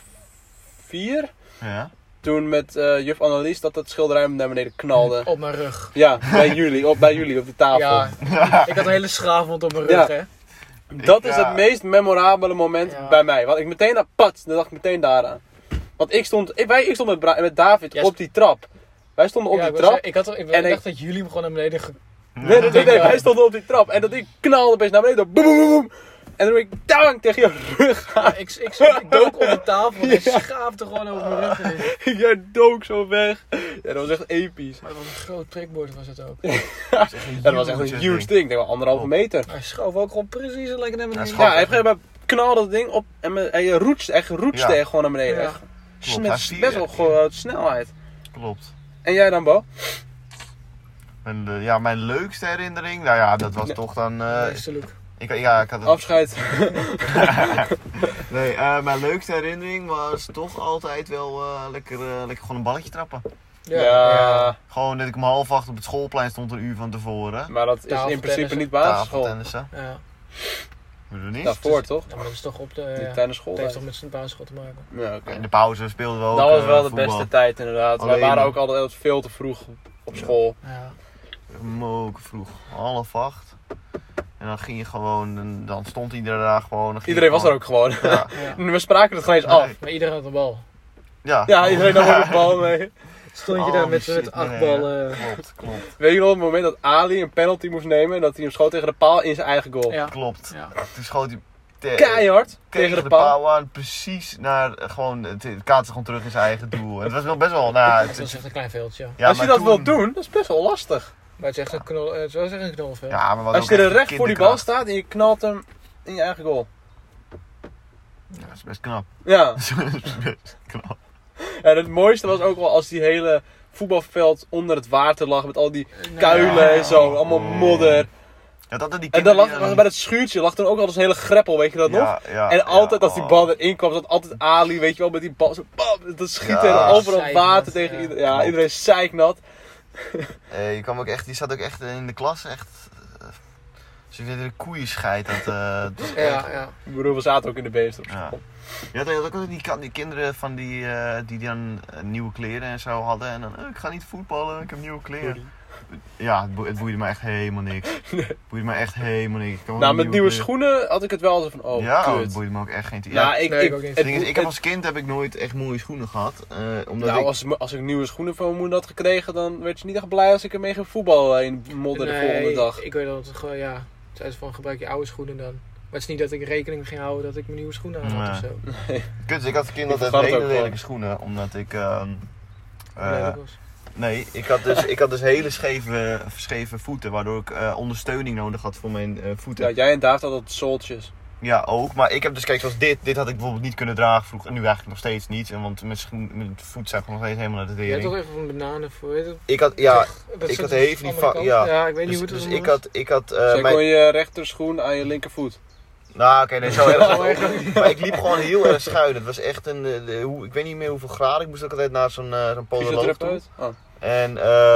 4. Ja? Toen met eh, juf Annelies dat dat schilderij naar beneden [laughs] knalde. op mijn rug. Ja, bij jullie, op, bij jullie op de tafel. Ja, ik had een hele schaafwond op mijn rug, Ja. hè. Dat is Ja. het meest memorabele moment Ja. bij mij. Want ik meteen aan pat, dan dacht ik meteen daaraan. Want ik stond, ik, wij, ik stond met, Bra- met David Jij op die trap. Wij stonden op Ja, die ik wou trap. zeggen, Ik, had, ik, En ik- dacht dat jullie hem gewoon naar beneden... ge- Nee, nee, nee, nee, wij stonden op die trap. En dat ik knalde opeens naar beneden. Boem, boem, boem, boem. En dan ben ik dang tegen je rug aan. ik, ik, zat- ik dook op de tafel en ik schaafde gewoon over mijn rug. [laughs] heen. Jij dook zo weg. Ja, dat was echt episch. Maar dat was een groot prikbord was het ook. Ja, dat was echt een huge ding. Ik denk wel anderhalve Oh. meter. Hij schoof ook gewoon precies lekker naar beneden. Ja, Ja, Grappig. hij heeft gegeven knalde dat ding op en, me- en je roetste, echt roetste Ja. echt gewoon naar beneden. Ja. Echt. Klopt, Met hij viel- best wel grote snelheid. Klopt. En jij dan, Bo? Mijn, le- ja, mijn leukste herinnering, nou ja, dat was Nee. toch dan... eh, Beste look. ik, ja, ik had het... Afscheid. nee, eh, mijn leukste herinnering was toch altijd wel eh, lekker, eh, lekker gewoon een balletje trappen. [laughs] Ja, Gewoon dat ik om half acht op het schoolplein stond een uur van tevoren. maar dat is in principe Tafeltennissen. niet basisschool. Tafeltennissen. Ja. Moet je niet? Daarvoor toch? Ja, maar dat is toch op de... Niet ja. tijdens school. Het heeft toch met zijn basisschool te maken? Ja, oké. In de pauze speelden we ook Dat was eh, wel de voetbal. beste tijd inderdaad. Wij Alleen- waren ook altijd veel te vroeg op Ja. school. Ja. Moken vroeg, half acht. En dan ging je gewoon, en dan stond iedereen daar gewoon. dan ging Iedereen je was er ook [laughs] gewoon. gewoon- Ja, ja. We spraken het gewoon eens af. Nee. Maar iedereen had een bal. [laughs] ja. Ja, iedereen nam ook een bal mee. Stond je Oh, daar met, shit, met acht nee, ballen... Klopt, klopt, Weet je nog het moment dat Ali een penalty moest nemen en dat hij hem schoot tegen de paal in zijn eigen goal? Ja. klopt. Ja. Toen schoot hij te- Keihard tegen de paal. aan. Precies naar eh, gewoon. Het het kaatste gewoon terug in zijn eigen doel. En het was wel best wel. Nou, Het het- was echt een klein veldje. ja. ja, Als je maar dat toen- wilt doen, dat is best wel lastig. Maar het is echt een, knol, het was echt een knolveld. Ja, maar wat Als ook je er echt recht voor die bal kinderkracht. staat en je knalt hem in je eigen goal. Ja, dat is best knap. [laughs] Ja, Dat is best knap. en het mooiste was ook wel als die hele voetbalveld onder het water lag met al die Nee. kuilen en zo, Oh. allemaal modder. Ja, dat er die En dan kinderen lag, die bij dat schuurtje lag toen ook al zo'n hele greppel, weet je dat nog? Ja, ja, En ja, altijd als die oh. bal erin kwam, zat altijd Ali, weet je wel, met die bal zo bam, dat schieten Ja. en overal Zeiknat, water tegen ja. iedereen. Ja, Klopt. iedereen zeiknat. Eh, je kwam ook echt, die zat ook echt in de klas. Echt. eh, Ze uh, de koeien scheidt. Dat, eh, dat was echt- Ja, ja. Ik bedoel, we zaten ook in de beesten op Ja. Oh, school. Je had, je had ook altijd die, kan- die kinderen van die, eh, die dan eh, nieuwe kleren en zo hadden. En dan, eh, ik ga niet voetballen, ik heb nieuwe kleren. Ja, het, boe- het boeide me echt helemaal [laughs] niks. Het boeide me echt helemaal niks. Ik kan wel Nou, met nieuwe kleren. schoenen had ik het wel zo van, oh, ja, kut. het boeide me ook echt geen... Ja, Nou, ik, Nee, ik, ik ook niet. het het, ding nou, is, ik het- heb als kind heb ik nooit echt mooie schoenen gehad. eh, omdat nou, ik... als, als ik nieuwe schoenen van mijn moeder had gekregen, dan werd je niet echt blij als ik ermee ging voetballen in modder de volgende dag. ik weet dat het gewoon, ja. Zei ze van gebruik je oude schoenen dan. Maar het is niet dat ik rekening ging houden dat ik mijn nieuwe schoenen aan had Nee. of zo. Kut, ik had als kind Ik altijd vergat het hele ook wel. lelijke schoenen. Omdat ik... ehm, eh, Nee, dat was- Nee, ik had dus, ik had dus hele scheve, scheve voeten, waardoor ik eh, ondersteuning nodig had voor mijn eh, voeten. Ja, jij en David hadden zooltjes. Ja, ook. Maar ik heb dus, kijk, zoals dit, dit had ik bijvoorbeeld niet kunnen dragen vroeger. En nu eigenlijk nog steeds niet. en Want mijn, schoen, mijn voet zag nog steeds helemaal naar de Je hebt toch tering. even van bananen voor, weet je Ik had, ja, dat Ik soort- had even die andere va- kant. ja. ja, ik weet dus, niet hoe dus het ik had, ik had, eh, Zij kon mijn... je rechterschoen aan je linkervoet. Nou, oké, nee, [laughs] zo Zo erg. [laughs] erg. maar ik liep gewoon heel erg schuin. Het was echt een, eh, de- hoe, ik weet niet meer hoeveel graden. Ik moest ook altijd naar zo'n eh, zo'n podoloog toe. Fysiotherapeut? Oh. En, eh,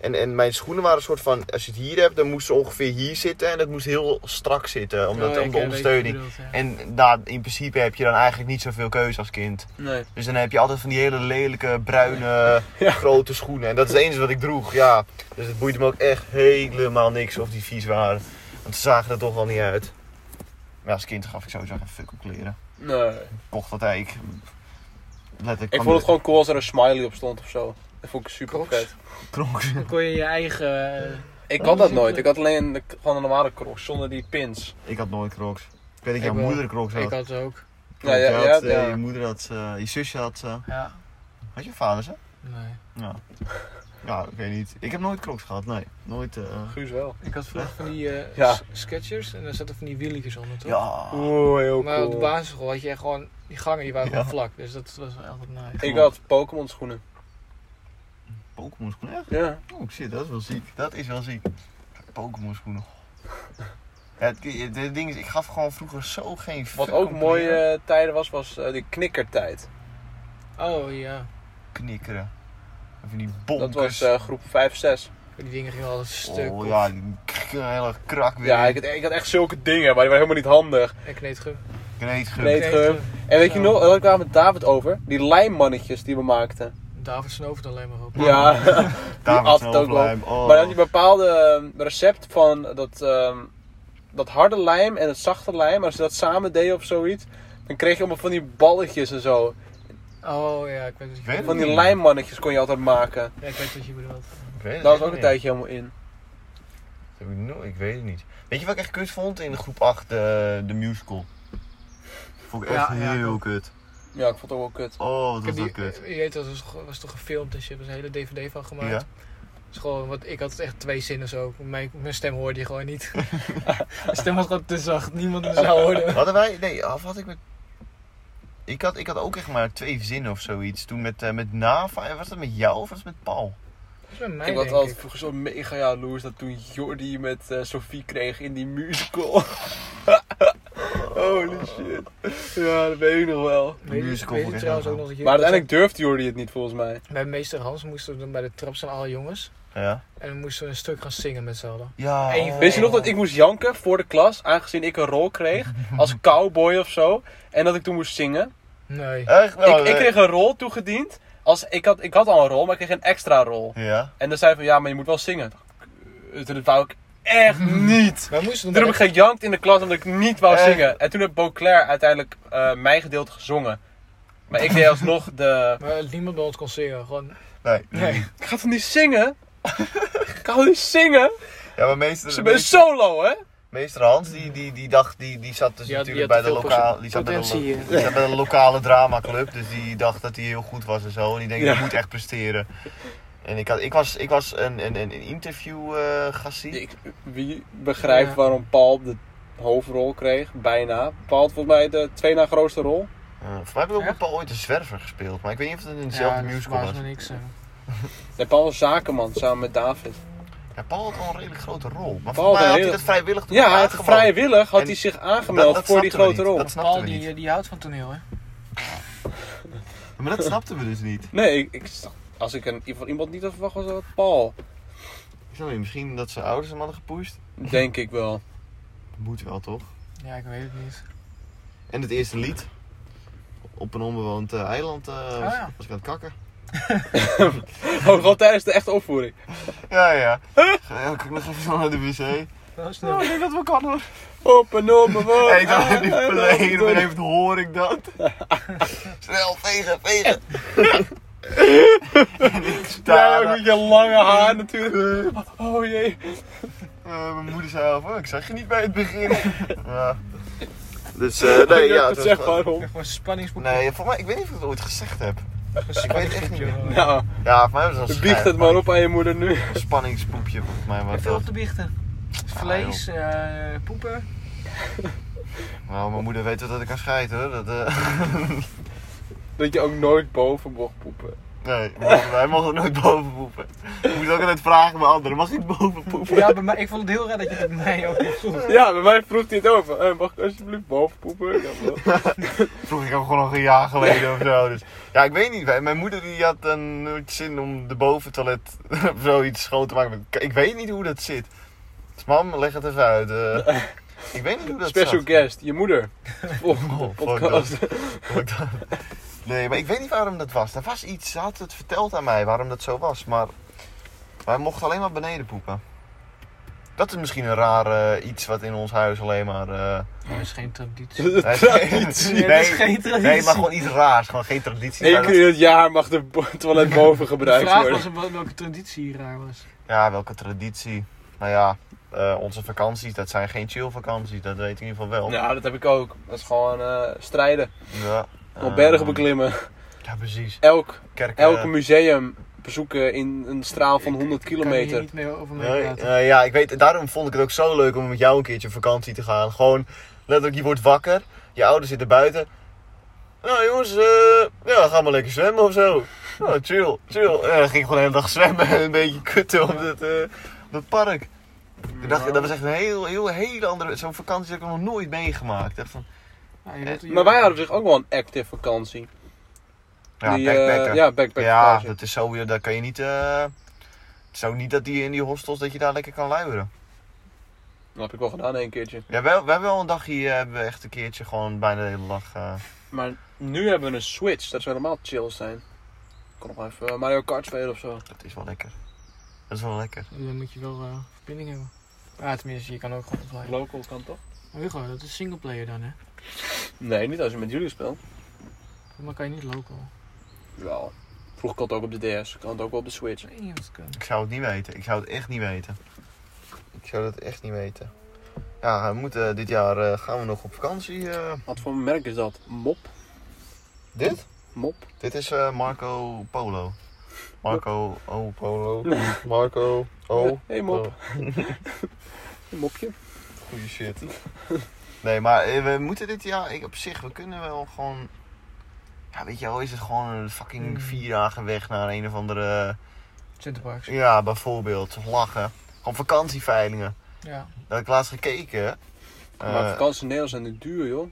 en, en mijn schoenen waren een soort van, als je het hier hebt, dan moest ze ongeveer hier zitten. En het moest heel strak zitten, Oh, omdat, om de ondersteuning. En nou, in principe heb je dan eigenlijk niet zoveel keuze als kind. Nee. Dus dan heb je altijd van die hele lelijke, bruine, Ja. grote schoenen. En dat is het enige wat ik droeg, ja. Dus het boeide me ook echt helemaal niks of die vies waren. Want ze zagen er toch wel niet uit. Maar als kind gaf ik sowieso geen fuck op kleren. Nee. Ik kocht dat eigenlijk... Letterlijk Ik kwam vond het de- gewoon cool als er een smiley op stond of zo. Dat vond ik super Crocs? vet. Kronk. Dan kon je je eigen... eh, Ik had dat nooit. Ik had alleen de- gewoon een normale crocs zonder die pins. Ik had nooit crocs. Ik weet dat Ik jouw wel. moeder crocs had. ik had ze ook. Klopt, Ja, ja, je had, ja, eh, ja. Je moeder had ze, je zusje had ze. Ja. Had je vader ze? Nee. Ja. Ja, ik weet niet. Ik heb nooit crocs gehad, nee. Nooit... eh, Guus wel. Ik had vroeger van die eh, Ja. s- sketchers en daar zaten van die wieltjes onder, toch? Ja. Oeh, heel Maar op de cool. basisschool had je echt gewoon... Die gangen die waren Ja. gewoon vlak, dus dat was wel altijd nice. Ik had Pokémon schoenen. Pokémon schoenen, echt? Ja. Oh shit, dat is wel ziek. Dat is wel ziek. Pokémon schoenen. Ja, het, het- het ding is, ik gaf gewoon vroeger zo geen Wat fuck ook om mooie kleren. eh, tijden was, was eh, die knikkertijd. Oh ja. Knikkeren. Even die Dat bonkers. was eh, groep 5, 6. Die dingen gingen altijd stuk. Oh of- ja, die k- hele krak weer. Ja, ik had, ik had echt zulke dingen, maar die waren helemaal niet handig. En kneedgum. Kneedgeur. Nee. Kneedgum. En weet je nog, daar kwamen we met David over, die lijmmannetjes die we maakten. David snoofde alleen maar op. Ja, [laughs] Daar at was het ook wel. lijm. Oh. maar dan had je een bepaalde ehm, recept van dat, ehm, dat harde lijm en het zachte lijm. Als je dat samen deed of zoiets, dan kreeg je allemaal van die balletjes en zo. Oh ja, ik weet wat je Ik weet het Van bedoelt. die lijmmannetjes kon je altijd maken. Ja, ik weet wat je bedoelt. Ik weet het Daar was echt ook een niet. tijdje helemaal in. Dat heb ik, nooit- ik weet het niet. Weet je wat ik echt kut vond in groep 8? De, de musical. Vond ik echt Ja, ja, heel klopt. kut. Ja, ik vond het ook wel kut. Oh, wat Ik heb was dat die, kut. je weet, dat was, was toch gefilmd en shit, er was een hele dvd van gemaakt. Ja. Dat is gewoon, want ik had echt twee zinnen zo. Mijn, mijn stem hoorde je gewoon niet. [laughs] mijn stem was gewoon te zacht, niemand me zou [laughs] horen. Hadden wij, nee, of had ik met. Ik had, ik had ook echt maar twee zinnen of zoiets. Toen met, eh, met Nava, was dat met jou of was het met Paul? Dat is bij mij, Ik denk was altijd ik. vroeger zo mega jaloers dat toen Jordi met eh, Sophie kreeg in die musical. [laughs] Holy shit. Ja, dat weet ik nog wel. De Weet je- musical weet vond je ik trouwens echt ook nog dat je... Maar uiteindelijk durfde Jordi het niet volgens mij. Bij meester Hans moesten we dan bij de trap staan, alle jongens. Ja. En dan moesten we een stuk gaan zingen met z'n allen. Ja. Eén van- Wist je nog dat ik moest janken voor de klas, aangezien ik een rol kreeg als [laughs] cowboy of zo. En dat ik toen moest zingen. Oh, Nee. Echt? Nou, Ik, ik kreeg een rol toegediend. Als, ik, had, ik had al een rol, maar ik kreeg een extra rol. Ja. En dan zei van ja, maar je moet wel zingen. Kut, En dat wou ik [laughs] echt niet. Wij moesten Toen dan heb ik gejankt in de klas omdat ik niet wou Echt? zingen. En toen heeft Beauclair uiteindelijk eh, mijn gedeelte gezongen. Maar ik deed alsnog de... Maar niemand bij ons kon zingen, gewoon... Nee. Nee. Ik ga toch niet zingen? ik ga toch niet zingen? Ja, maar meester. Ze ben solo, hè? Meester Hans, die, die, die dacht, die, die zat dus Ja, die natuurlijk had bij te de, veel lokaal, die zat bij, de lo- Potentie, eh. die zat bij de lokale dramaclub. Dus die dacht dat hij heel goed was en zo. En die denkt, Ja. ik moet echt presteren. En ik, had, ik was, ik was een, een, een een interview eh gaan zien. Ik, wie begrijpt Ja. waarom Paul de hoofdrol kreeg? Bijna. Paul had volgens mij de twee na grootste rol. Eh, voor mij heb ik ook met Echt? Paul ooit een zwerver gespeeld. Maar ik weet niet of het in dezelfde dat musical was. verbaast me niks. eh. Nee, Paul was zakenman samen met David. Ja, Paul had wel een redelijk grote rol. Maar Paul volgens mij had had een hij hele- dat vrijwillig toen Ja, het aangeboden. vrijwillig had En hij zich aangemeld dat voor die snapten we grote niet. rol. Dat snapten Paul we niet. die, eh, die houdt van toneel, hè? Maar dat snapten we dus niet. Nee, ik, ik, als ik een, van iemand niet had verwacht was dat Paul. Ik snap niet, misschien dat zijn ouders hem hadden gepusht. Denk ik wel. Moet wel, toch? Ja, ik weet het niet. En het eerste lied. Op een onbewoond eh, eiland eh, was, ja. was ik aan het kakken. [laughs] Oh, gewoon tijdens de echte opvoering. Ja, ja. Ga ik nog even snel naar de wc. Wel snel. ik denk dat wel kan hoor. Op en op en op. Ah, En ik [laughs] dacht, ik en op en verleden, op. maar even hoor ik dat. [laughs] Snel, vegen, vegen. [laughs] en ik sta Jij ook daar. met je lange haar natuurlijk. Oh jee. Eh, mijn moeder zei al van, ik zag je niet bij het begin. [laughs] ja. Dus, eh, nee, ja. dat het was zeg gewoon- maar om. Gewoon een spanningsboek. Nee, voor mij, ik weet niet of ik het ooit gezegd heb. ik weet echt niet meer. Nou, Ja, voor mij was het een biecht het maar op aan je moeder nu. spanningspoepje, volgens mij. Maar Veel dat, op te biechten. Ah, Vlees, eh, poepen. nou, mijn moeder weet wel dat ik kan scheiden hoor. Dat, eh, [laughs] Dat je ook nooit boven mocht poepen. nee, we mogen- wij mogen nooit boven poepen. Ik moet ook altijd vragen bij anderen, mag ik boven poepen? Ja, bij mij, ik vond het heel raar dat je het bij mij ook vroeg. Ja, bij mij vroeg hij het over. Eh, mag ik alsjeblieft boven poepen? [laughs] Ja, wel. Vroeg ik hem gewoon nog een jaar geleden of zo. Dus, ja, ik weet niet. wij- Mijn moeder die had dan nooit zin om de boventoilet [laughs] of zoiets schoon te maken. Ik- Ik weet niet hoe dat zit. Dus mam, leg het even uit. [laughs] eh. ik weet niet hoe dat Special zat. Oh, guest, je moeder. [laughs] Volgende fuck podcast. Hoe ik dat- Nee, maar ik weet niet waarom dat was. Er was iets, ze had het verteld aan mij waarom dat zo was. Maar wij mochten alleen maar beneden poepen. Dat is misschien een raar eh, iets wat in ons huis alleen maar... eh, Dat is geen traditie. De traditie. Nee, dat is geen traditie. Nee, maar gewoon iets raars. Gewoon geen traditie. Eén Maar dat- keer in het jaar mag de bo- [laughs] toilet boven De gebruikt vraag worden. was wel- welke traditie hier raar was. Ja, welke traditie? Nou ja, eh, onze vakanties, dat zijn geen chill vakanties. Dat weet ik in ieder geval wel. Nou, dat heb ik ook. Dat is gewoon eh, strijden. Ja, Op eh, bergen beklimmen. Ja, precies. Elk, Kerken. elk museum bezoeken in een straal van 100 Eh, Ik kan hier kilometer. niet meer over Nee, meepraten. eh, ja, ik weet, daarom vond ik het ook zo leuk om met jou een keertje op vakantie te gaan. Gewoon, letterlijk, je wordt wakker, je ouders zitten buiten. Nou jongens, eh, ja, ga maar lekker zwemmen of zo. Nou, chill, chill. En dan ging ik gewoon de hele dag zwemmen en een beetje kutten op dat, eh, op dat park. Ik dacht, dat was echt een heel, heel, hele andere, zo'n vakantie heb ik nog nooit meegemaakt. Echt van, Ja, je wilt- je- Maar wij hadden op zich ook wel een active vakantie. ja, Die, eh, backpacken. ja, backpack Ja, vakantie. dat is zo weer, daar kan je niet. eh het is ook niet dat die in die hostels dat je daar lekker kan luieren. Dat heb ik wel gedaan één keertje. Ja, we, we hebben wel een dagje, eh, hebben we echt een keertje gewoon bijna de hele dag. eh, Maar nu hebben we een Switch, dat zou helemaal chill zijn. Ik kon nog even eh, Mario Kart spelen of zo. dat is wel lekker. Dat is wel lekker. Dan moet je wel eh, verbinding hebben. Ja, tenminste, je kan ook gewoon blijven. Local kan toch? Hugo, dat is singleplayer dan, hè? Nee, niet als je met jullie speelt. Maar kan je niet local? Wel. Vroeger kon het ook op de DS, kan het ook wel op de Switch. Ik weet niet of het kan. Ik zou het niet weten. Ik zou het echt niet weten. Ik zou dat echt niet weten. Ja, we moeten dit jaar eh, gaan we nog op vakantie. eh. Wat voor merk is dat? Mop? dit? Mop? Dit is eh, Marco Polo. Marco O Polo. [laughs] Marco O. hey, mop. Een mopje. Goeie shit. Nee, maar eh, we moeten dit jaar, ik, op zich, we kunnen wel gewoon. Ja, weet je wel, is het gewoon een fucking Mm. vier dagen weg naar een of andere. Centerparks. Ja, bijvoorbeeld, of lachen. Gewoon vakantieveilingen. Ja. Dat heb ik laatst gekeken. Eh, maar vakanties in Nederland zijn nu duur, joh.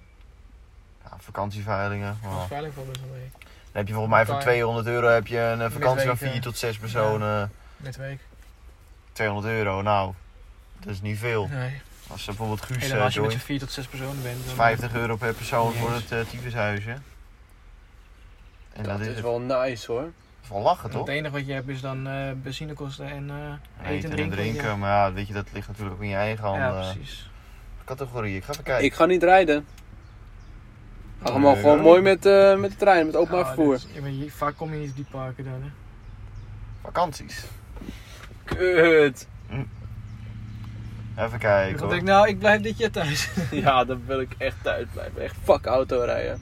ja, vakantieveilingen. Dat is wow. veilig voor best wel dus mee. Dan heb je volgens mij voor Elkaar. 200 euro heb je een eh, vakantie van Midweken. 4 tot 6 personen. Net week. 200 euro, nou, dat is niet veel. Nee. Als eh, bijvoorbeeld Guus Helemaal eh, als je met z'n joint, 4 tot 6 personen bent. Dan... 50 euro per persoon voor Jezus. het eh, tyfushuisje. En dat, is is het. wel nice, hoor. Van lachen toch? Het enige wat je hebt is dan eh benzinekosten en eh, Eten en drinken, eh. ja. maar ja, weet je, dat ligt natuurlijk ook in je eigen handen. Ja, precies. Categorie, ik ga even kijken. Ik ga niet rijden. Ga allemaal Nee, gewoon ja. mooi met, eh, met de trein, met openbaar Ja, vervoer. dat Nou, is- ja, maar je- vaak kom je niet op die parken dan, hè? Vakanties. Kut. Even Ik kijken. dacht ik, hoor. nou, ik blijf dit jaar thuis. [laughs] [laughs] Ja, dan wil ik echt thuis blijven. Echt fuck auto rijden.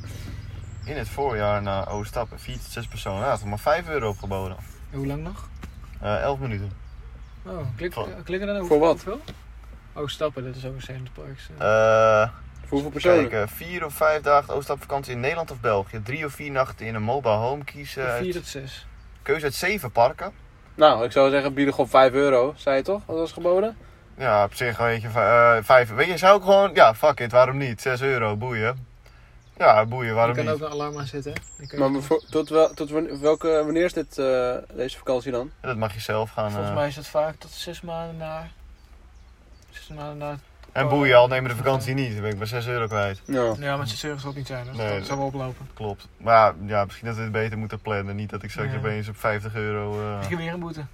In het voorjaar naar Oostappen, vier tot zes personen. Nou, dat is maar 5 euro opgeboden. Hoe lang nog? Eh 11 minuten. Oh, klik, Voor- klikken dan Voor wat? hoeveel? Oh, stappen, dat is ook een Center Parks. eh. Eh Voor hoeveel personen? kijken, vier of vijf dagen Oostapvakantie in Nederland of België. Drie of vier nachten in een mobile home kiezen. Vier Uit, tot zes. keuze uit zeven parken. Nou, ik zou zeggen, bieden gewoon 5 euro. Zei je toch? Wat was geboden? Ja, op zich, weet je, v- eh, vijf. Weet je, zou ik gewoon, ja, fuck it, waarom niet? 6 euro, boeien. Ja, boeien, Je waarom kan niet? ook een alarm aanzetten. Dan kan je- Maar voor- tot, wel, tot wan- welke, wanneer is dit, eh, deze vakantie dan? Ja, Dat mag je zelf gaan. Volgens eh, mij is dat vaak tot zes maanden na. Zes maanden na. En boeien, al nemen de vakantie niet. Dan ben ik maar 6 euro kwijt. Ja. Ja, maar zes euro zal ook niet zijn. dus Dat Nee, dat zou wel oplopen. Klopt. Maar ja, misschien dat we het beter moeten plannen. Niet dat ik straks Ja. opeens op 50 euro. eh, Ik heb weer een boete.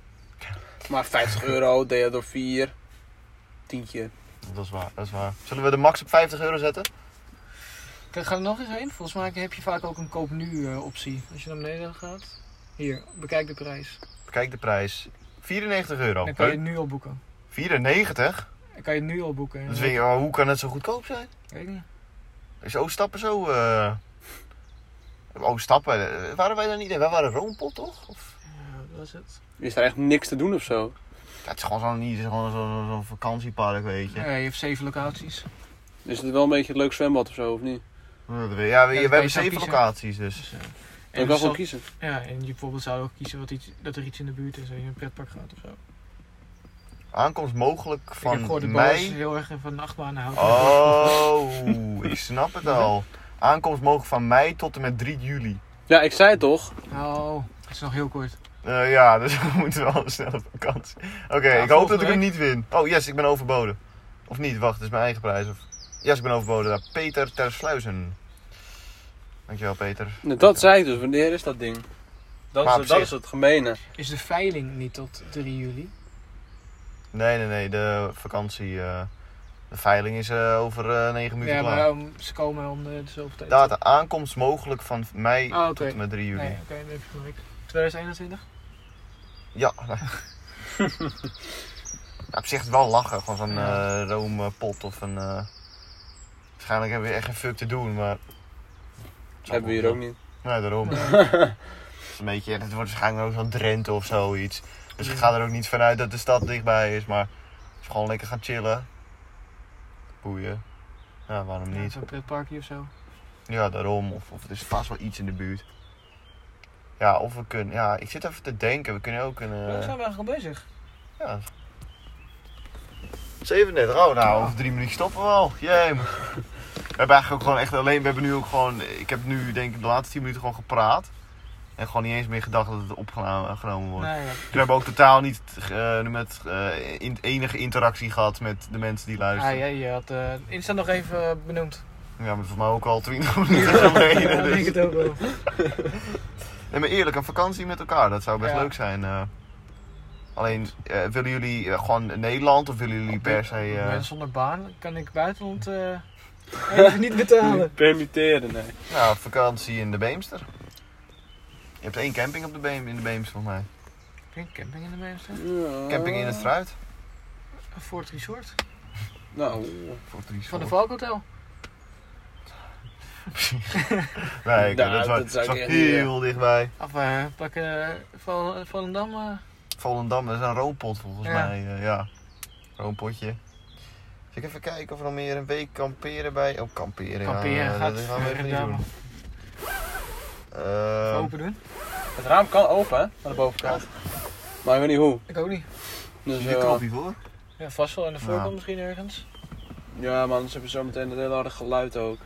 Maar 50 euro, deed je door 4. Tientje. Dat is waar, dat is waar. Zullen we de max op 50 euro zetten? Ga ga er nog eens heen. Volgens mij heb je vaak ook een koop nu eh, optie. Als je naar beneden gaat. Hier, bekijk de prijs. Kijk de prijs. 94 euro. Dan kan je het nu al boeken. 94? Dan kan je het nu al boeken. Dat vind je, maar hoe kan het zo goedkoop zijn? Weet ik niet. Is Oostappen zo... eh Oostappen, eh, waren wij daar niet in? Wij waren Roompot, toch? Of... Ja, dat was het. Is daar echt niks te doen of zo? Ja, het is gewoon zo'n het is gewoon zo'n zo'n vakantiepark, weet je. Ja, je hebt zeven locaties. Is het wel een beetje een leuk zwembad of zo, of niet? Ja, we, ja, we kan je hebben zelf zeven kiezen. locaties, dus... Dus, eh, Dan en kan dus ik gewoon zal- kiezen. ja, en je bijvoorbeeld zou ook kiezen wat iets, dat er iets in de buurt is. Dat je in een pretpark gaat of zo. Aankomst mogelijk ik heb gehoord van dat mei... Boas heel erg van de achtbanen houdt. Oh, ik snap het al. Aankomst mogelijk van mei tot en met 3 juli. Ja, ik zei het toch? Oh, het is nog heel kort. Eh, ja, [laughs] dus we moeten wel snel op vakantie. Oké, ik hoop volgende dat ik hem niet win. Oh, yes, ik ben overboden. Of niet, wacht, het is mijn eigen prijs. Of... Yes, ik ben overboden. Ja, Peter Tersluizen. Dankjewel, Peter. Nou, Dat zei ik dus. Wanneer is dat ding? Dat, Maar is, op het- dat zich- is het gemene. Is de veiling niet tot 3 juli? Nee, nee, nee, de vakantie. eh, de veiling is eh, over eh 9 minuten Ja, klaar. maar om- ze komen om de, de zoveel tijd. Data aankomst mogelijk van mei Ah, oké. tot en met 3 juli. Nee, oké, dan heb je gelijk. 2021? Ja. [laughs] nee. Ja, op zich is het wel lachen, gewoon zo'n Ja. eh roompot of een... eh, Waarschijnlijk hebben we echt geen fuck te doen, maar... Hebben we hier ook niet. Nee, [laughs] daarom. Het is een beetje, het wordt waarschijnlijk ook zo'n Drenthe of zoiets. Dus ik ga er ook niet vanuit dat de stad dichtbij is, maar... Het is gewoon lekker gaan chillen. Boeien. Ja, waarom Ja, niet? Zo'n pretparkje of zo. Ja, daarom. Of, of het is vast wel iets in de buurt. Ja, of we kunnen... Ja, ik zit even te denken. We kunnen ook een... eh, Daar zijn we eigenlijk al bezig. Ja. 37, oh nou, over drie minuten stoppen we al. Jee. man. We hebben eigenlijk ook gewoon echt alleen, we hebben nu ook gewoon, ik heb nu denk ik de laatste 10 minuten gewoon gepraat. En gewoon niet eens meer gedacht dat het opgenomen wordt. Nee, ja. We hebben ook totaal niet eh, met eh, in- enige interactie gehad met de mensen die Ah, luisteren. ja, je had eh Insta nog even eh, [laughs] benoemd. [laughs] ja. maar dat is voor mij ook al 20 [laughs] minuten geleden. Ja, ik denk dus. het ook wel. Nee, maar eerlijk, een vakantie met elkaar, dat zou best Ja. leuk zijn. eh. alleen, eh, willen jullie eh, gewoon Nederland of willen jullie per se... eh, Mensen zonder baan kan ik [laughs] buitenland eh, even niet betalen. Permitteren, nee. Nou, vakantie in de Beemster. Je hebt één camping op de Beem, in de Beemster volgens mij. Heb je een camping in de meeste? Ja. Camping in het Eh. fruit. Een Fort Resort. Nou, Voor drie Van de school. Valk Hotel. Nee, ik- dat, Nou, was, dat zou dat ik was echt niet, heel dichtbij. Of eh pakken eh, van Volendam. eh, Volendam, dat is een roompot volgens Ja. mij. eh, ja, roompotje. Zal ik even kijken of we nog meer een week kamperen bij... Oh, kamperen. kamperen ja, gaat. Dat gaan we eh, even niet daar doen. maar Eh, open doen. het raam kan open, hè? Aan de bovenkant. Maar ik weet niet hoe. Ik ook niet. Dus, is eh, dit knop hiervoor? Ja, vast wel in de voorkant Nou. misschien ergens. ja, maar anders heb je zo meteen een heel harde geluid ook.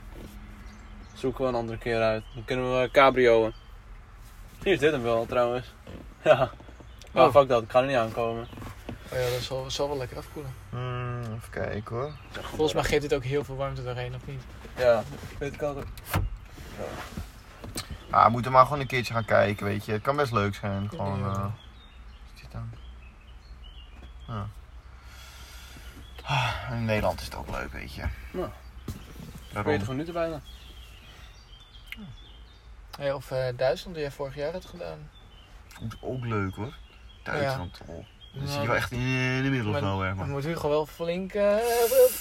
Zoeken we een andere keer uit. Dan kunnen we eh, cabrioen. Misschien is dit hem wel, trouwens. [laughs] Ja. Maar Oh. fuck dat, ik ga er niet aankomen. Oh ja, dat zal, zal wel lekker afkoelen. Hmm, even kijken hoor. Volgens mij geeft dit ook heel veel warmte doorheen, of niet? Ja, dit kan ook. Ah, we moeten maar gewoon een keertje gaan kijken, weet je. Het kan best leuk zijn. Gewoon, Ja. eh, wat is dit dan? Ja. Ah, In Nederland is het ook leuk, weet je. Ja. Daarom. 40 minuten bijna. Hey, of eh, Duitsland, die jij vorig jaar had gedaan. Ook leuk hoor. Duitsland. Oh. Dan zit je wel echt in de middel of nowhere, Nou, Dan man. moet Hugo wel flink eh, eh,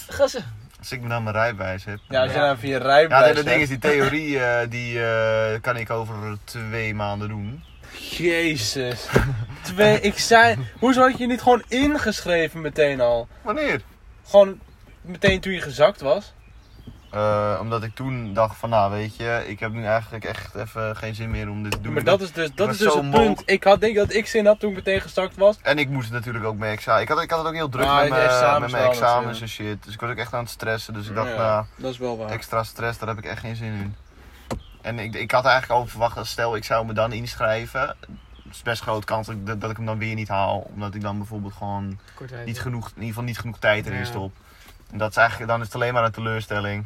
gassen. Als ik me dan mijn rijbewijs heb. Ja, als je Ja. dan via rijbewijs Ja, het ding is, hebt. die theorie eh, die eh, kan ik over twee maanden doen. Jezus. Twee, ik zei... Hoezo had je niet gewoon ingeschreven meteen al? Wanneer? Gewoon meteen toen je gezakt was? Eh, omdat ik toen dacht van, nou weet je, ik heb nu eigenlijk echt even geen zin meer om dit te doen. maar dat is dus, dat was is dus zo het moe. punt. Ik had denk dat ik zin had toen ik meteen gezakt was. En ik moest natuurlijk ook mijn examen. Ik had, ik had het ook heel druk Ah, met de mijn examens met mijn wel examens natuurlijk. en shit. Dus ik was ook echt aan het stressen. Dus ik dacht, Ja, nou, dat is wel waar. extra stress, daar heb ik echt geen zin in. En ik, ik had eigenlijk al verwacht, dat stel ik zou me dan inschrijven. Het is best groot kans dat, ik- dat ik hem dan weer niet haal. Omdat ik dan bijvoorbeeld gewoon Kort even. niet genoeg, in ieder geval niet genoeg tijd erin Ja. stop. En dat is eigenlijk, dan is het alleen maar een teleurstelling.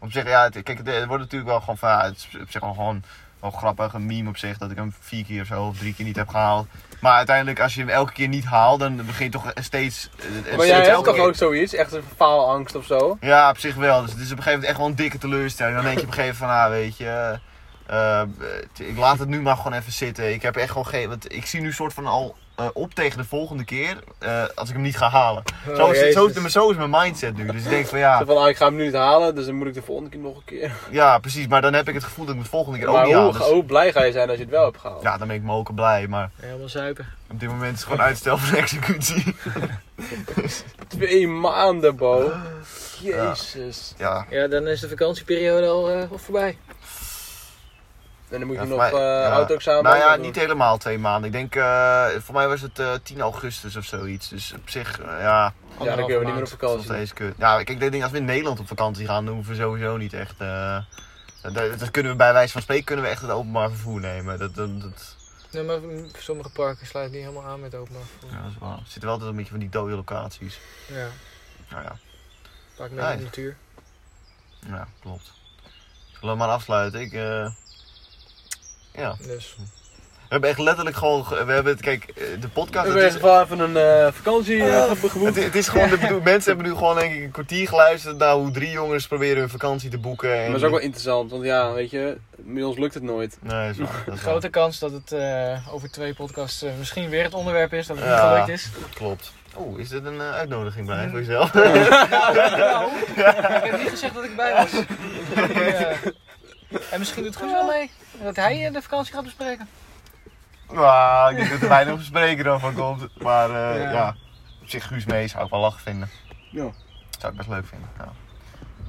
Op zich, ja, het, kijk, het, het wordt natuurlijk wel gewoon van, ja, het is op zich wel gewoon wel grappig, een meme op zich, dat ik hem vier keer of zo, of drie keer niet heb gehaald. Maar uiteindelijk, als je hem elke keer niet haalt, dan begin je toch steeds... eh, maar steeds jij hebt elke toch keer- ook zoiets? Echt een faalangst of zo? Ja, op zich wel. Dus het is op een gegeven moment echt wel een dikke teleurstelling. Dan denk je op een gegeven moment van, ah, weet je... eh, eh, t- ik laat het nu maar gewoon even zitten. Ik heb echt gewoon geen... Want ik zie nu soort van al eh, op tegen de volgende keer eh, als ik hem niet ga halen. Oh, Zo is, het- zo, is het- maar zo is mijn mindset nu. Dus ik denk van ja, Zo van, ah, ik ga hem nu niet halen, dus dan moet ik de volgende keer nog een keer. ja, precies. Maar dan heb ik het gevoel dat ik het volgende keer ook maar niet hoe, haal. Dus, hoe blij ga je zijn als je het wel hebt gehaald? ja, dan ben ik moken blij. Maar Helemaal zuipen. op dit moment is het gewoon uitstel van executie. [laughs] Twee maanden, Bo. Jezus. Ja, Ja, dan is de vakantieperiode al eh, al voorbij. En dan moet je Ja, nog voor eh mij- ja. auto-examen nou ja, ook nog niet doen. helemaal twee maanden. Ik denk, eh, voor mij was het eh, 10 augustus of zoiets. Dus op zich, eh, ja, Ja, dan kunnen we niet meer op dat is nog vakantie. steeds kut. Ja, kijk, ik denk als we in Nederland op vakantie gaan, dan hoeven we sowieso niet echt... eh, dat, dat- dat kunnen we bij wijze van spreken kunnen we echt het openbaar vervoer nemen. Dat, dat, dat, Nee, maar mm, sommige parken sluiten niet helemaal aan met openbaar vervoer. ja, dat is waar. Er zitten wel altijd een beetje van die dode locaties. Ja, Nou ja. pak mee Nee. in de natuur. Ja, klopt. Zullen we maar afsluiten? Ik, eh, ja. Dus We hebben echt letterlijk gewoon... ge- We hebben het, kijk, eh, de podcast... We Het is, hebben wel even een eh, vakantie eh, ge- het, geboekt. het is gewoon... De, bedoel- [laughs] mensen hebben nu gewoon denk ik een kwartier geluisterd naar hoe drie jongens proberen hun vakantie te boeken. En Maar dat is ook wel interessant, want ja, weet je, met ons lukt het nooit. Nee, dat is waar. Dat is waar. grote kans dat het eh, over twee podcasts eh, misschien weer het onderwerp is, dat het niet Ja. gelukt [laughs] is. Klopt. Oeh, is dit een eh, uitnodiging bij voor jezelf? [laughs] Nou, ik heb niet gezegd dat ik erbij was. Ja. En misschien doet Guus wel mee. Dat hij eh, de vakantie gaat bespreken. Nou, ik denk dat er weinig bespreken dan van komt. Maar eh, Ja. ja. op zich Guus mee zou ik wel lachen vinden. Ja. Zou ik best leuk vinden. Ja.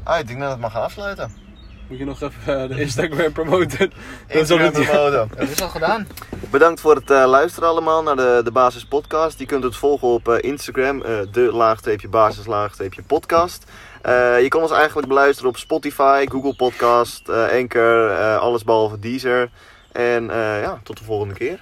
Ah, ik denk dat het mag gaan afsluiten. Moet je nog even eh, de Instagram [laughs] promoten. Ik zal het- modo. Dat is al gedaan. Bedankt voor het eh, luisteren allemaal naar de, de Basis Podcast. Je kunt het volgen op eh, Instagram, eh de laagstreepje basis laagstreepje podcast. Eh, je kan ons eigenlijk beluisteren op Spotify, Google Podcast, eh Anchor, eh, alles behalve Deezer. En eh, ja, tot de volgende keer.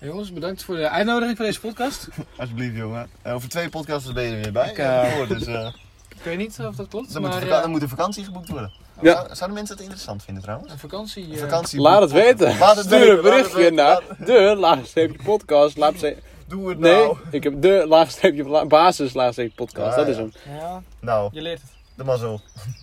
Jongens, bedankt voor de uitnodiging voor deze podcast. Alsjeblieft jongen. Eh, over twee podcasts ben je er weer bij. Ik, eh, dus, eh, Ik weet niet of dat klopt, dan, moet maar de eh, vaka- dan moet de vakantie geboekt worden. Ja. Zou- Zouden mensen het interessant vinden trouwens? een vakantie... eh, Vakantie Laat het boeken. weten. Laat het Stuur weten, laat een het berichtje weten, naar laat- de laagstreepje podcast. laagstreep- Doe het Nee, nou. ik heb de laagstreepje la- basis laagstreepje podcast. Ah, Dat is ja. hem. Ja, Nou, je leert het. de mazzel.